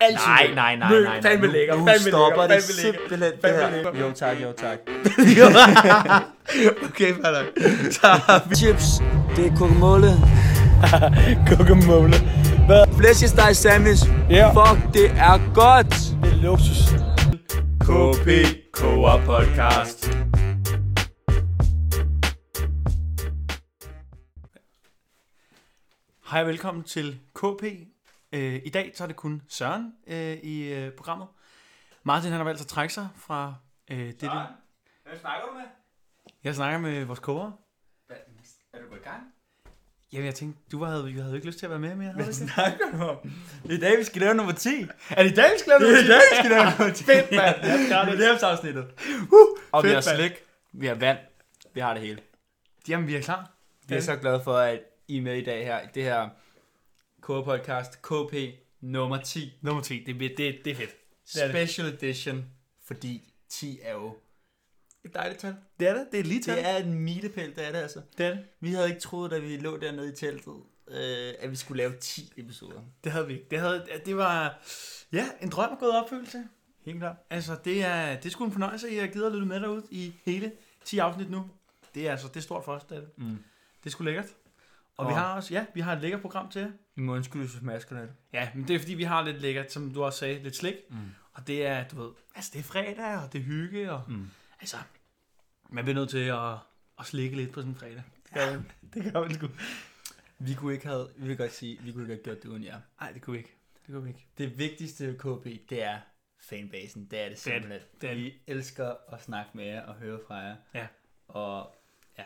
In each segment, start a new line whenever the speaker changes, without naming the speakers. Altid
Nej,
lækker.
nej, nej,
Møl,
nej, nej.
Fandme
Nu-
lækker.
nu
fandme lækker,
stopper det
fandme lækker,
simpelthen, det
fandme
her.
lækker.
Jo tak, jo tak.
okay, fair nok. Så har vi
Chips, det er kokomåle.
Guacamole. Hvad?
Flæskesteg sandwich.
Ja.
Fuck, det er godt.
Det er luksus.
KP Koger Podcast. Hej og velkommen til KP. Øh, I dag så er det kun Søren øh, i øh, programmet. Martin han har valgt at trække sig fra øh, det. Hvem snakker du med? Jeg snakker med vores koger.
Er du på gang?
Jamen jeg tænkte, du havde, jeg havde jo ikke lyst til at være med mere. havde du ikke det?
snakker du om? Det er i dag, vi skal lave nummer 10. Det
Er det i dag, vi skal lave
er i dag, vi skal lave nummer 10. Fedt, mand.
det.
Det er afsnittet.
Og vi
Fedt,
har
mand.
slik, vi har vand, vi har det hele.
Jamen vi er klar.
Vi er så glade for, at I er med i dag her i det her K-podcast, KP nummer 10,
Nummer 10, det, det, det, det er fedt. Det er det.
special edition, fordi 10 er jo et dejligt tal.
Det er det, det er lige
Det er en milepæl, det er det altså.
det er det.
Vi havde ikke troet, da vi lå dernede i teltet, øh, at vi skulle lave 10 episoder.
Det havde vi ikke. Det, havde, det var ja, en drøm er gået i opfyldelse. Helt klart. Altså, det er, det er sgu en fornøjelse, at I har givet at lytte med derude i hele 10 afsnit nu. Det er altså, det er stort for os, det er det. Mm. Det er sgu lækkert. Og, og, vi
Og-
har også, ja, vi har et lækkert program til jer.
I mundskyldes maskerne.
Ja, men det er fordi, vi har lidt lækkert, som du også sagde, lidt slik. Mm. Og det er, du ved, altså det er fredag, og det er hygge, og mm. altså, man bliver nødt til at, at slikke lidt på sådan en fredag. Ja, det gør man sgu.
Vi kunne ikke have, vi vil godt sige, vi kunne ikke have gjort det uden jer.
Nej, det kunne vi ikke. Det kunne vi ikke.
Det vigtigste ved KB, det er fanbasen. Det er det
Det er det.
simpelthen.
Det er-
Vi elsker at snakke med jer og høre fra jer.
Ja.
Og ja,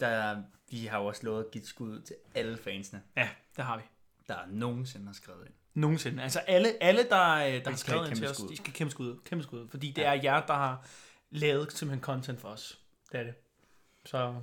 der, vi har jo også lovet at give et skud ud til alle fansene,
Ja, det har vi.
der nogensinde har skrevet ind.
Nogensinde. Altså alle, alle der, øh, der har
skal have
skrevet ind til
kæmpe
os,
skud.
de skal kæmpe skud. ud. Kæmpe skud. ud, Fordi det ja. er jer, der har lavet simpelthen content for os. Det er det. Så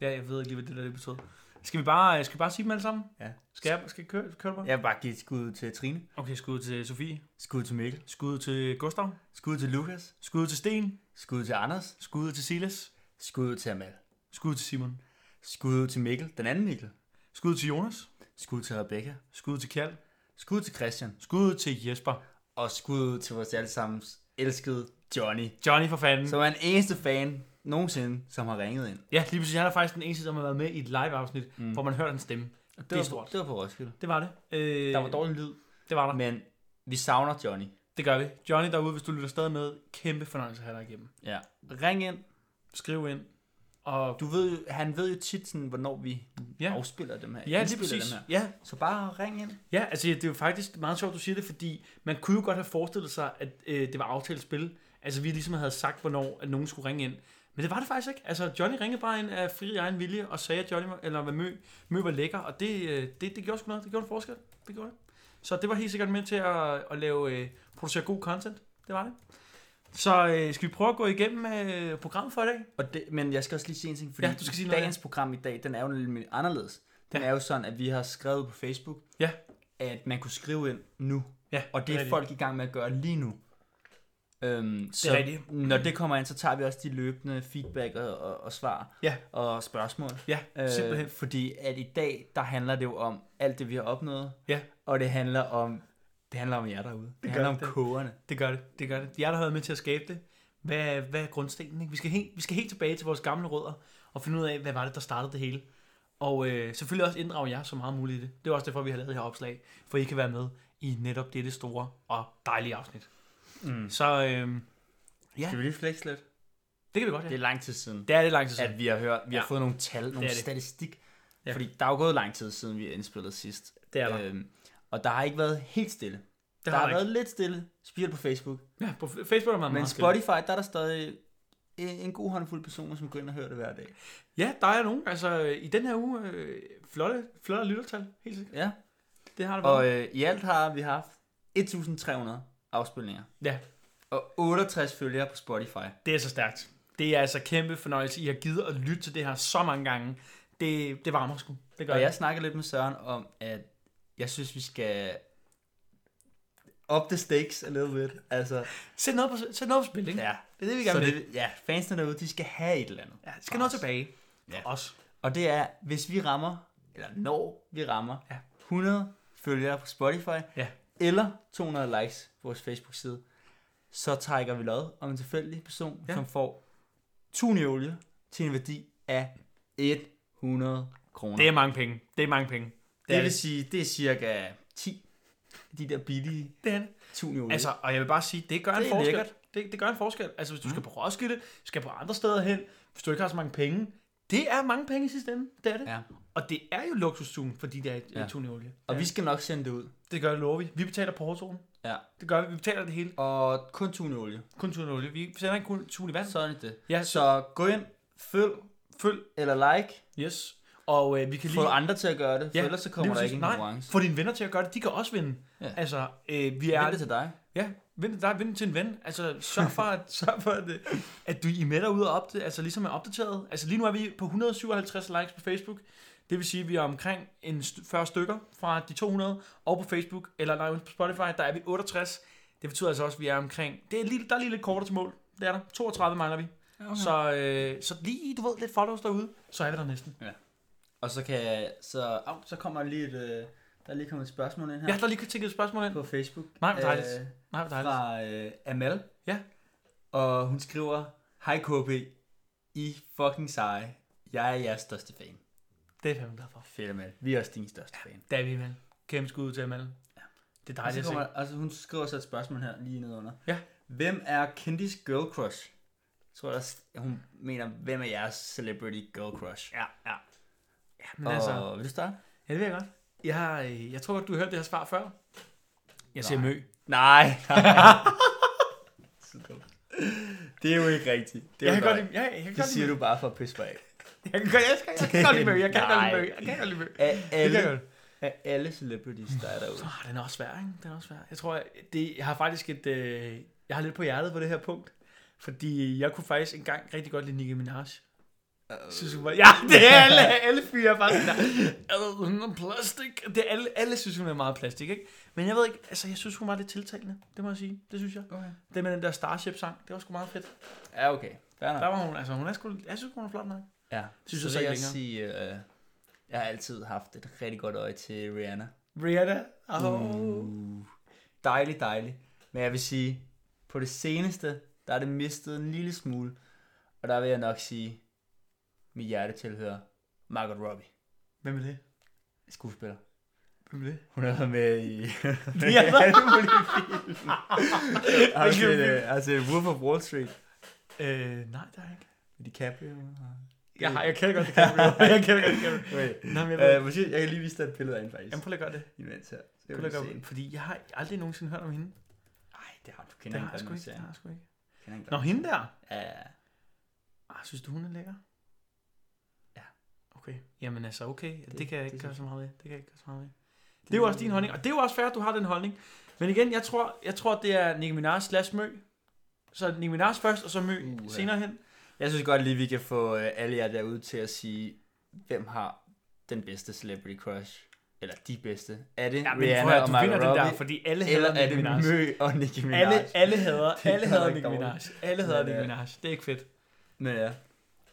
ja, jeg ved ikke lige, hvad det der det betød. Skal vi bare, øh, skal vi bare sige dem alle sammen?
Ja.
Skal jeg, skal jeg køre, køre det bare? Ja.
Jeg vil bare give et skud ud til Trine,
Okay, skud til Sofie.
skud til Mikkel,
Skud til Gustav.
skud til Lukas,
Skud til Sten.
skud til Anders,
Skud til Silas.
skud ud til Amal,
Skud til Simon.
skud til Mikkel, den anden Mikkel,
Skud til Jonas.
skud til Rebecca,
Skud til Kjald.
skud til Christian,
Skud til Jesper.
og skud ud til vores allesammens elskede Johnny,
Johnny for fanden.
som er den eneste fan nogensinde, som har ringet ind.
Ja, lige præcis. Han er faktisk den eneste, som har været med i et live-afsnit, mm. hvor man hørte hans stemme. Det, det er
var-
stort.
Det var på Roskilde.
Det var det. Øh,
Der var dårlig lyd,
Det var der.
men vi savner Johnny.
Det gør vi. Johnny derude, hvis du lytter stadig med, kæmpe fornøjelse at have dig igennem.
Ja. Ring ind.
Skriv ind. Og
Du ved, jo- han ved jo tit, sådan, hvornår vi
Ja.
ja. afspiller dem her.
ja, lige
indspiller
præcis.
Dem her.
Ja,
Så bare ring ind.
ja, altså det er jo faktisk meget sjovt, du siger det, fordi man kunne jo godt have forestillet sig, at øh, det var aftalt spil. Altså vi ligesom havde sagt, hvornår at nogen skulle ringe ind. Men det var det faktisk ikke. Altså Johnny ringede bare ind af fri egen vilje og sagde, at Johnny var, eller, hvad Mø, Mø var lækker. Og det, øh, det, det gjorde sgu noget. Det gjorde en forskel. Det gjorde det. Så det var helt sikkert med til at, at lave, øh, producere god content. Det var det. Så øh, skal vi prøve at gå igennem øh, programmet for i dag?
Og det, men jeg skal også lige sige en ting, fordi
Ja, du skal sige noget,
dagens program i dag, den er jo lidt anderledes. Den
Ja.
ja. er jo sådan, at vi har skrevet på Facebook,
Ja.
at man kunne skrive ind nu.
Ja,
Og det er
rigtigt.
folk i gang med at gøre lige nu. Øhm, det så
rigtigt.
når det kommer ind, så tager vi også de løbende feedback og, og, og svar
Ja.
og spørgsmål.
Ja, simpelthen.
Øh, fordi at i dag, der handler det jo om alt det, vi har opnået.
Ja.
Og det handler om, det handler om jer derude. Det, det handler om
det.
kogerne.
Det gør det, det gør det. Jeg der har været med til at skabe det. Hvad, hvad er grundstenen? Ikke? Vi, skal helt, vi skal helt tilbage til vores gamle rødder og finde ud af, hvad var det, der startede det hele. Og øh, selvfølgelig også inddrage jer så meget muligt i det. Det er også derfor, vi har lavet det her opslag, for I kan være med i netop dette store og dejlige afsnit. Mm. Så øh, Ja.
Skal vi lige flex lidt?
det kan vi godt, ja.
Det er lang tid siden.
Det er det lang tid siden.
at vi har hørt, vi har
Ja.
fået nogle tal, nogle
er det.
statistik.
Ja.
Ja. Fordi der er jo gået lang tid siden, vi indspillede sidst.
Det er der.
Øhm, og der har ikke været helt stille.
Det
Der,
har
har,
der
været lidt stille, specielt på Facebook.
Ja, på Facebook er man
Men
meget
Spotify, der er der stadig en, en god håndfuld personer, som går ind og hører det hver dag.
Ja, der er nogen. Altså, øh, i den her uge, øh, flotte, flotte lyttertal. Helt sikkert.
Ja.
Det har det været.
Og øh, i alt har vi haft 1300 afspilninger.
ja,
Og 68 følgere på Spotify.
Det er så stærkt. Det er altså kæmpe fornøjelse. I har givet at lytte til det her så mange gange. Det, det varmer sgu. Det gør
Og
jeg.
jeg snakkede lidt med Søren om, at jeg synes, vi skal up the stakes a little bit. Altså,
Sæt noget på, sæt noget på spil, ikke?
ja,
Det er det, vi
Så
gerne vil.
det, ja, fansene derude, de skal have et eller andet.
Ja, det skal noget tilbage.
Ja.
For os.
Og det er, hvis vi rammer, eller når vi rammer,
Ja.
100 følgere på Spotify,
Ja.
eller 200 likes på vores Facebook-side, så trækker vi lod om en tilfældig person,
Ja.
ja. som får tuneolie til en værdi af 100 kroner.
Det er mange penge. Det er mange penge.
det
er
vil sige, det er cirka 10 af de der billige
Det er det.
tuneolie.
Altså, og jeg vil bare sige, det gør en
Det er
forskel.
lækkert. Mm.
Det, det gør en forskel. Altså, hvis du skal på Roskilde, skal på andre steder hen, hvis du ikke har så mange penge, det er mange penge i sidste ende. Det er det.
ja.
Og det er jo luksustugen, fordi det er ja.
Ja.
tuneolie.
Og
Ja.
vi skal nok sende det ud.
Det gør det, lover vi. Vi betaler portoen.
Ja.
Det gør vi. Vi betaler det hele.
Og kun tuneolie.
Kun tuneolie. Vi sender ikke kun tune i verden.
Sådan er det.
Ja.
Så gå ind, følg
Følg.
eller like.
Yes. Og øh, vi kan lige...
Få andre til at gøre det, for ellers så
lige
kommer der
præcis.
ikke en
Nej,
konkurrence.
Få dine venner til at gøre det. De kan også vinde.
Ja.
Altså, øh, vi
Jeg
er...
det til dig.
Ja, vind, der er vind til en ven. Altså, sørg for, at, sørg for at, øh, at du I med derude og op, altså, ligesom er opdateret. Altså, lige nu er vi på 157 likes på Facebook. Det vil sige, at vi er omkring en st- 40 stykker fra de 200, og på Facebook, eller nej, på Spotify, der er vi 68. Det betyder altså også, at vi er omkring... Det er lige, der er lige lidt kortere til mål. Det er der. 32 mangler vi. Okay. Så, øh, så lige, du ved, lidt followers derude, så er vi der næsten.
Og så kan så, au, så kommer der lige et, øh, der er lige kommet et spørgsmål ind her
Ja, Øh, der er lige tænkt et spørgsmål ind.
på Facebook. øh,
Nej, hvor dejligt. Nej, hvor dejligt.
fra øh, Amal.
Ja.
Og hun skriver, Hej KB, I er fucking seje. Jeg er jeres største fan.
Det er jeg fandme glad for.
Fedt Amal. Vi er også din største fan.
Det er vi, mand. Kæmpe skud ud til Amal. Det er
Og
dejligt
så
at se.
kommer, altså, hun skriver så et spørgsmål her lige nedenunder.
Ja.
Hvem er Kendis girl crush? Jeg tror, der, s- hun mener, hvem er jeres celebrity girl crush?
Ja, ja. ja men
og
og... altså,
vil du starte?
ja, det vil jeg godt. Jeg, har, øh, jeg tror godt, du har hørt det her svar før. Jeg siger mø.
Nej. det er jo ikke rigtigt. Det, er
Jeg
jo
kan godt
løgn.
lide, ja, jeg kan
det
godt
siger
lide
du bare for at pisse mig af.
Jeg kan, godt- jeg, kan, jeg kan godt lide mø. Jeg kan godt
Nej.
lide mø. Jeg kan godt lide mø.
Af
Det kan
alle,
jeg godt.
af alle celebrities, der er derude.
Oh, den er også svær, ikke? Den er også svær. Jeg tror, jeg, det, jeg har faktisk et... Øh, jeg har lidt på hjertet på det her punkt. Fordi jeg kunne faktisk engang rigtig godt lide Nicki Minaj. Synes hun var, ja, det er alle, alle fyre er faktisk der. Er hun er plastik? Det er alle, alle synes, hun er meget plastik, ikke? Men jeg ved ikke, altså jeg synes, hun var lidt tiltalende. Det må jeg sige. Det synes jeg.
Okay.
Det med den der Starship-sang, det var sgu meget fedt.
Ja, okay. Fair
Der
nok.
var hun, altså hun er sgu, jeg synes, hun er flot nok.
Ja.
Synes
så
jeg så
vil jeg
ikke længere.
sige, øh, jeg har altid haft et rigtig godt øje til Rihanna.
Rihanna. Oh. Mm.
Uh. Dejlig, dejlig. Men jeg vil sige, på det seneste, der er det mistet en lille smule. Og der vil jeg nok sige, mit hjerte tilhører Margot Robbie,
Hvem er det?
skuespiller.
Hvem er det?
Hun har været med i
Ja.
alle mulige film. Jeg har
Hvilken
set,
film?
øh, jeg har set Wolf of Wall Street
Øh, nej, der er ikke.
med DiCaprio. og-
Jeg, har, jeg kender godt DiCaprio. jeg kender godt DiCaprio.
Okay.
Nej, men jeg ved
Øh,
ikke.
måske, jeg kan lige vise dig et billede af hende faktisk.
Jamen, prøv lige at gøre det.
imens her. Så kan
Prøv lige
du
at gøre
se.
det. Fordi jeg har aldrig nogensinde hørt om hende.
Nej, det har du
Det
kender
har
ikke
jeg
godt nok
sgu ikke.
til.
Det har jeg sgu ikke.
Kender ikke
Nå,
godt nok.
hende der.
Ja, ja, ja.
Ah, synes du, hun er lækker?
Ja.
Okay. Jamen altså, okay. Det, det
Det-
kan jeg
det
ikke gøre
synes
så meget ved. Det kan jeg ikke gøre så meget ved. Det er jo også din holdning, og det er jo også fair, at du har den holdning. Men igen, jeg tror, jeg tror det er Nicki Minaj slash Mø. Så Nicki Minaj først, og så Mø
Uha.
uh, senere hen.
Jeg synes godt lige, vi kan få øh, alle jer derude til at sige, hvem har den bedste celebrity crush? Eller de bedste. Er det
Ja,
ja,
men prøv
Rihanna
at,
og
du
Margot
vinder den
Robbie?
der, fordi alle
eller
hader
er
Nicki
det
Minaj.
Mø og Nicki Minaj?
Alle, alle hader,
er
alle hader
godt
Nicki
nok
Minaj.
dårligt.
Alle hader
Men,
Nicki
øh,
Minaj. Det er ikke fedt.
Men ja.
Ja.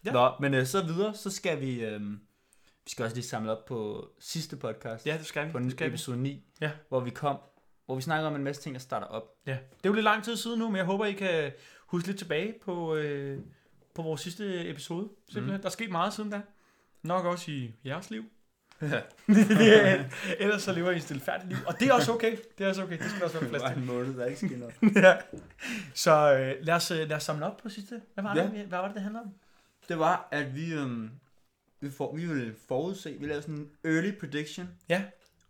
ja. Nå, men øh, så videre, så skal vi... Øh, vi skal også lige samle op på sidste podcast.
Ja, det skal vi.
På
det
den
skal vi.
episode 9.
Ja.
Hvor vi kom... Hvor vi snakker om en masse ting, der starter op.
Ja. Det er jo lidt lang tid siden nu, men jeg håber, I kan huske lidt tilbage på, øh, på vores sidste episode. Simpelthen. Mm. Der er sket meget siden da. Nok også i jeres liv. Ellers så lever I et stilfærdigt liv. Og det er også okay. Det er også okay. Det skal der også være plads til.
en måned, der ikke sker noget.
ja. Så øh, lad, os, øh, lad os samle op på sidste. Hvad var,
Ja.
det, vi- hvad var det, det handlede om?
Det var, at vi, øhm, vi, for, vi ville forudse, vi lavede sådan en early prediction
Ja.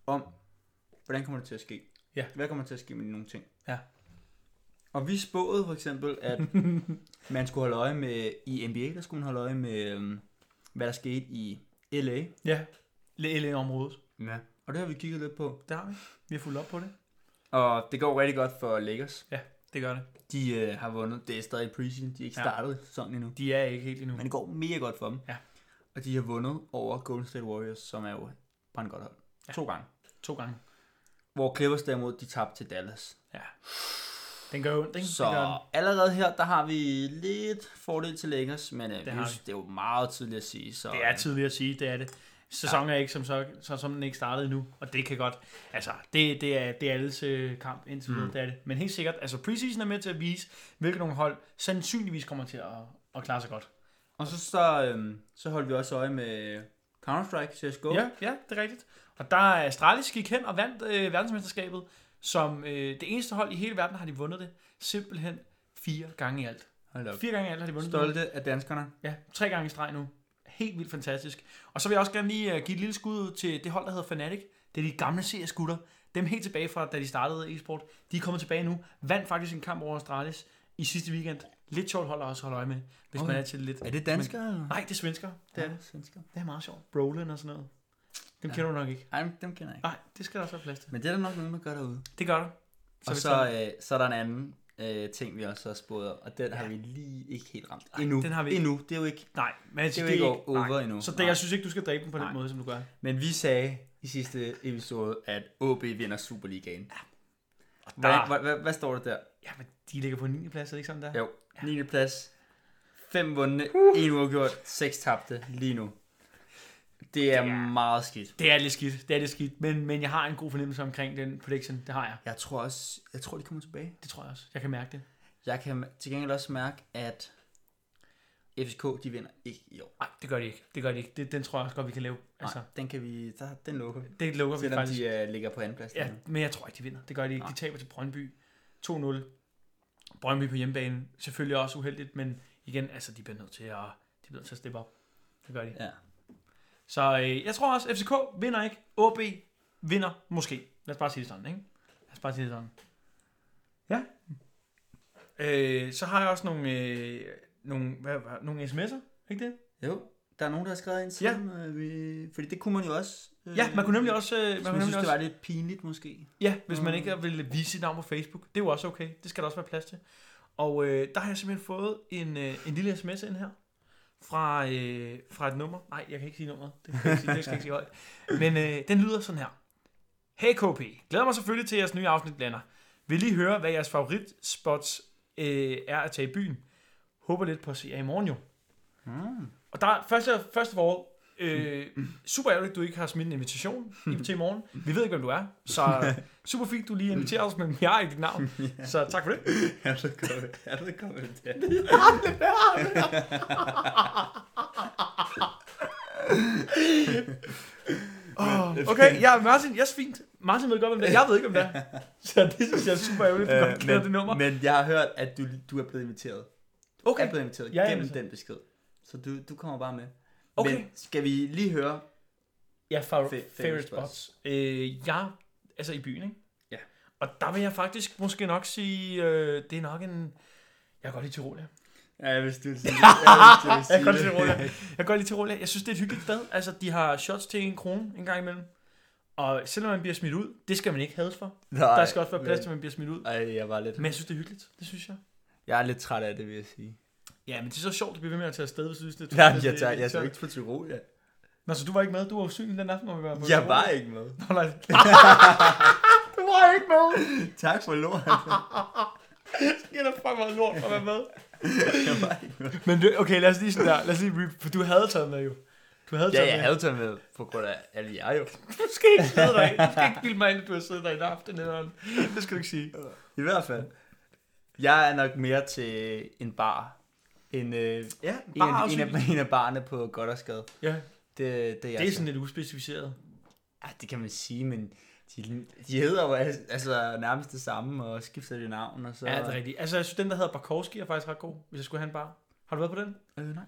om, hvordan kommer det til at ske?
Ja.
Hvad kommer til at ske med nogle ting?
Ja.
Og vi spåede for eksempel, at man skulle holde øje med, i NBA, der skulle man holde øje med, øhm, hvad der skete i LA.
Ja. Læge området.
Ja. Og det har vi kigget lidt på.
Der har vi. Vi har fulgt op på det.
Og det går rigtig godt for Lakers.
Ja, det gør det.
De øh, har vundet. Det er stadig preseason. De er ikke
Ja.
startet sæsonen endnu.
De er ikke helt endnu.
Men det går mega godt for dem.
Ja.
Og de har vundet over Golden State Warriors, som er jo bare en godt hold.
Ja.
Ja. To gange.
To gange.
Hvor Clippers derimod, de tabte til Dallas.
Ja. Den gør ondt, ikke?
Så
Det gør den.
allerede her, der har vi lidt fordel til Lakers, men øh, vi
har
synes, det er jo meget tidligt at sige. Så, øh.
Det er tidligt at sige, det er det. Sæsonen er ikke som, så, så, som den ikke startede endnu, og det kan godt. Altså, det, det, er, det er alles øh, kamp indtil videre, mm. det er det. Men helt sikkert, altså preseason er med til at vise, hvilke nogle hold sandsynligvis kommer til at, at klare sig godt.
Og så, så, øhm, så holdt vi også øje med Counter-Strike CSGO.
Ja, ja, det er rigtigt. Og der er Astralis gik hen og vandt øh, verdensmesterskabet, som øh, det eneste hold i hele verden har de vundet det, simpelthen fire gange i alt.
Hold op.
Fire gange i alt har de vundet det.
Stolte af danskerne.
Ja, tre gange i streg nu. Helt vildt fantastisk. Og så vil jeg også gerne lige øh, give et lille skud ud til det hold, der hedder Fnatic. Det er de gamle CS-gutter. Dem helt tilbage fra, da de startede e-sport. De er kommet tilbage nu. Vandt faktisk en kamp over Astralis i sidste weekend. Lidt sjovt hold at også holde øje med, hvis
Okay.
man er til lidt.
Er det danskere? eller?
Nej, det er svensker. Det er, det.
svensker.
det er meget sjovt. Brolin og sådan noget. Dem kender du nok ikke.
Ej, men dem kender jeg ikke.
Nej, det skal der også være plads til.
Men det er der nok nogen, der gør derude.
Det gør der.
Så og
hvis
så,
der-
øh, så er der en anden øh, ting, vi også har spået, om, og den ja. har vi lige ikke helt ramt.
Ej, den har vi ikke.
Endnu. Det er jo ikke, det
Nej, men altså,
er jo ikke over
nej.
endnu.
Så det,
Nej.
jeg synes ikke, du skal dræbe dem på den
Nej.
måde, som du gør.
Men vi sagde i sidste episode, at OB vinder Superligaen.
Og
Hvordan, hvad, hvad, hvad står det der?
ja, men de ligger på 9. plads, er det ikke sådan der?
Jo, 9. plads. 5 vundne, 1 uafgjort, 6 tabte lige nu. Det er
er-
meget skidt.
Det er lidt skidt, det er lidt skidt, men, men jeg har en god fornemmelse omkring den prediction, det har jeg.
Jeg tror også, jeg tror, de kommer tilbage.
Det tror jeg også, jeg kan mærke det.
Jeg kan til gengæld også mærke, at FSK, de vinder ikke i år.
Nej, det gør de ikke, det gør de ikke. Det, den tror jeg også godt, vi kan lave. Altså,
Nej, den kan vi, der, den lukker vi.
det lukker vi
Selvom
faktisk.
de øh, ligger på anden plads.
Ja, men jeg tror ikke, de vinder. Det gør de ikke. De taber til Brøndby 2-0. Brøndby på hjemmebane, selvfølgelig også uheldigt, men igen, altså, de bliver nødt til at, de bliver nødt til at steppe op. Det gør de.
ja.
Så øh, jeg tror også, FCK vinder ikke. OB vinder måske. Lad os bare sige det sådan, ikke? Lad os bare sige det sådan. Ja. Øh, så har jeg også nogle, øh, nogle, hvad, hvad, nogle sms'er, ikke det?
Jo, der er nogen, der har skrevet ind til
Ja.
dem, øh, vi, fordi det kunne man jo også. Øh,
Ja, man kunne nemlig også... Øh, man
hvis
kunne
man
nemlig
synes, det
også
var lidt pinligt måske.
ja, hvis man ikke vil vise sit navn på Facebook. Det er jo også okay. Det skal der også være plads til. Og øh, der har jeg simpelthen fået en, øh, en lille sms ind her. Fra, øh, fra et nummer. Nej, jeg kan ikke sige nummeret. Det skal jeg ikke sige, det skal jeg ikke sige højt. Men øh, den lyder sådan her. Hey KP, glæder mig selvfølgelig til at jeres nye afsnit lander. Vil lige høre, hvad jeres favoritspots øh, er at tage i byen. Håber lidt på at se jer i morgen jo.
Hmm.
Og der, først, først of all, øh, super ærgerligt, at du ikke har smidt en invitation
Hmm.
i- til i morgen. Vi ved ikke, hvem du er, så super fint, du lige inviterer os, men jeg har ikke dit navn. Så tak for det.
Er du kommet, er du kommet der?
Oh, okay, ja, Martin, yes, fint. Martin ved godt, hvem det er. Jeg ved ikke, hvem det er. Så det synes jeg er super ærgerligt, at du godt kender det nummer.
Øh, men jeg har hørt, at du, du er blevet inviteret. Okay. Er
Okay,
blevet inviteret
Jeg er
ja, gennem
inviteret.
den besked. Så du, du kommer bare med.
Okay.
Men skal vi lige høre?
ja, fa-
Fa-
favorite
favorite
spots. Øh, jeg, altså i byen, ikke?
Ja.
Og der vil jeg faktisk måske nok sige, øh, det er nok en... Jeg kan godt lide Tirol, ja.
Ja, hvis du vil sige
Jeg kan godt lide Tirol. Jeg kan godt lide Tirol. Jeg synes, det er et hyggeligt sted. Altså, de har shots til en krone en gang imellem. Og selvom man bliver smidt ud, det skal man ikke hades for.
Nej,
der skal også være plads
men-
til, at man bliver smidt ud.
Ej, jeg var lidt...
Men jeg synes, det er hyggeligt. Det synes jeg.
Jeg er lidt træt af det, vil jeg sige.
Ja, men det er så sjovt, at blive ved med at tage afsted, hvis du synes, det er
Ja,
træls,
jeg,
det-
tager,
det-
jeg tager
det-
ikke på Tirol, ja.
Nå, så du var ikke med? Du var usynlig den aften, hvor vi var på
Jeg var ikke med.
Nå, nej. du var ikke med!
Tak for lort.
Det er da fucking meget lort for at være med.
Jeg var ikke med.
Men det, okay, lad os lige sådan der. Lad os lige re- for du havde taget med jo. Du havde
Ja,
taget
jeg
med.
havde taget med på grund af alle jer jo.
Du skal ikke sidde dig. Du skal ikke bilde mig ind, at du har siddet der i en aften eller noget. Det skal du ikke sige.
I hvert fald. Jeg er nok mere til en bar. En, øh,
Ja,
bar en, af- en, af, en af barne på Goddersgade.
Ja,
Det, det, er jeg
det er
så.
sådan lidt uspecificeret.
Ja, det kan man sige, men de, de hedder jo al- altså nærmest det samme, og skifter det navn, og så...
Ja, det er rigtigt. Altså, jeg synes, den, der hedder Barkowski, er faktisk ret god, hvis jeg skulle have en bar. Har du været på den?
Øh, nej.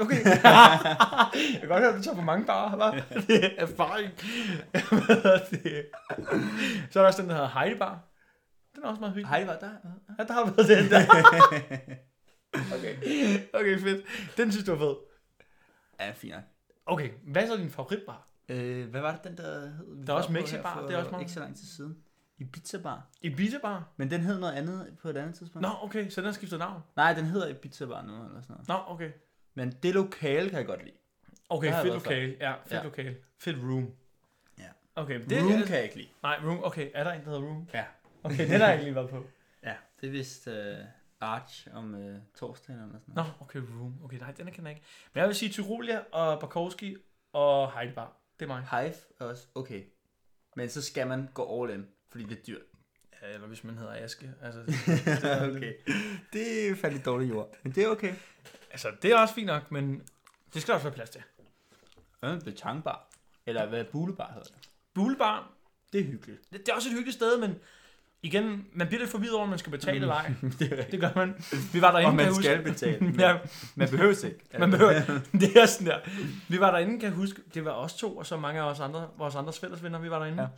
Okay. jeg kan godt høre, at du tager for mange barer, hva'? Det er erfaring. Hvad hedder det? Så er der også den, der hedder Heidi Bar. Den er også meget hyggelig.
Hej, det var der. Øh,
Ja, der har været den der. okay. Okay, fedt. Den synes du er fed.
Ja, fint nok.
Okay, hvad er så din favoritbar?
øh, Hvad var det, den der hed? Vi
Der er også
var på
Mexibar,
her for
det er også meget-
Ikke så lang tid siden. Ibiza Bar.
Ibiza Bar?
Men den hed noget andet på et andet tidspunkt.
Nå, okay, så den har skiftet navn.
Nej, den hedder Ibiza Bar nu, eller sådan noget.
Nå, okay.
Men det lokale kan jeg godt lide.
Okay,
Der har jeg
fedt
været før.
lokale. Ja, fedt
Ja.
lokale. Fedt room.
Ja.
Okay,
Det, Room kan jeg ikke lide.
Nej, Room. Okay, er der en, der hedder Room?
Ja.
Okay, den har jeg ikke lige været på.
Ja, det er vist øh, Arch om øh, torsdagen eller sådan noget.
Nå, okay, Room. Okay, nej, den kender jeg ikke. Men jeg vil sige Tyrolia og Barkowski og Heidelbar. Det er mig.
Hive er også okay. Men så skal man gå all in, fordi det er dyrt.
Ja, eller hvis man hedder Aske. Altså,
okay. Det faldt lidt dårligt jord, men det er okay.
altså, det er også fint nok, men det skal der også være plads til.
Hvad med betangbar? Eller hvad bulebar hedder det?
Bulebar,
Det er hyggeligt.
det, det er også et hyggeligt sted, men igen, man bliver lidt forvirret over, om man skal betale
Mm.
eller ej. Mm. Det gør man. Vi var derinde,
Og
kan jeg
man
huske.
skal betale. Men
Ja,
man behøver ikke.
man behøver, det er sådan der. Vi var derinde, kan jeg huske, det var os to, og så mange af os andre, vores andre fællesvenner, vi var derinde.
Ja.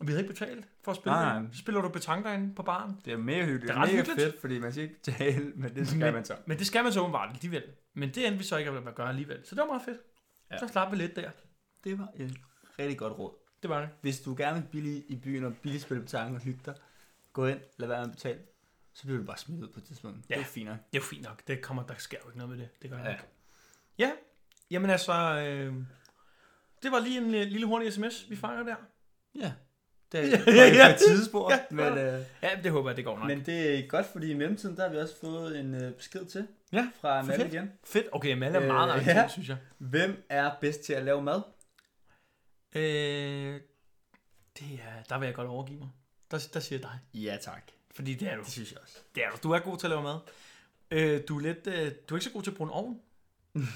Og vi havde ikke betalt for at spille.
Nej,
det.
nej.
Så spiller du betank derinde på baren.
Det er mega hyggeligt.
Det er ret
mega
hyggeligt.
fedt, fordi man skal ikke betale, men det skal
Men-
man så.
Men det skal man så åbenbart alligevel. Men det endte vi så ikke at gøre alligevel. Så det var meget fedt.
Ja.
Så slap vi lidt der.
Det var et rigtig godt råd.
Det var det.
Hvis du gerne vil billig i byen og billigt spille betang og hygge dig, gå ind, lad være med at betale. Så bliver du bare smidt ud på et tidspunkt.
Ja.
Det er finere.
Det er jo fint nok. Det kommer, der sker jo ikke noget med det. Det gør ja.
Ja.
nok. Ja, jamen altså, øh, det var lige en øh, lille hurtig sms, vi fanger der.
Ja. Det
Ja,
er
ja.
ja, et tidsspor,
Ja,
ja,
det var
men, øh,
Ja, det håber jeg, det går nok. Men,
men det er godt, fordi i mellemtiden, der har vi også fået en øh, besked til
Ja,
fra
for
Malle
fedt.
igen.
Fedt. Okay, Malle er
Øh,
meget aktiv,
ja.
synes jeg.
Hvem er bedst til at lave mad?
Øh, det er, der vil jeg godt overgive mig. Der, der siger jeg dig.
Ja, tak.
Fordi det er du.
synes jeg også.
Det er du. Du er god til at lave mad. Øh, du, er lidt, øh, du er ikke så god til at bruge en ovn,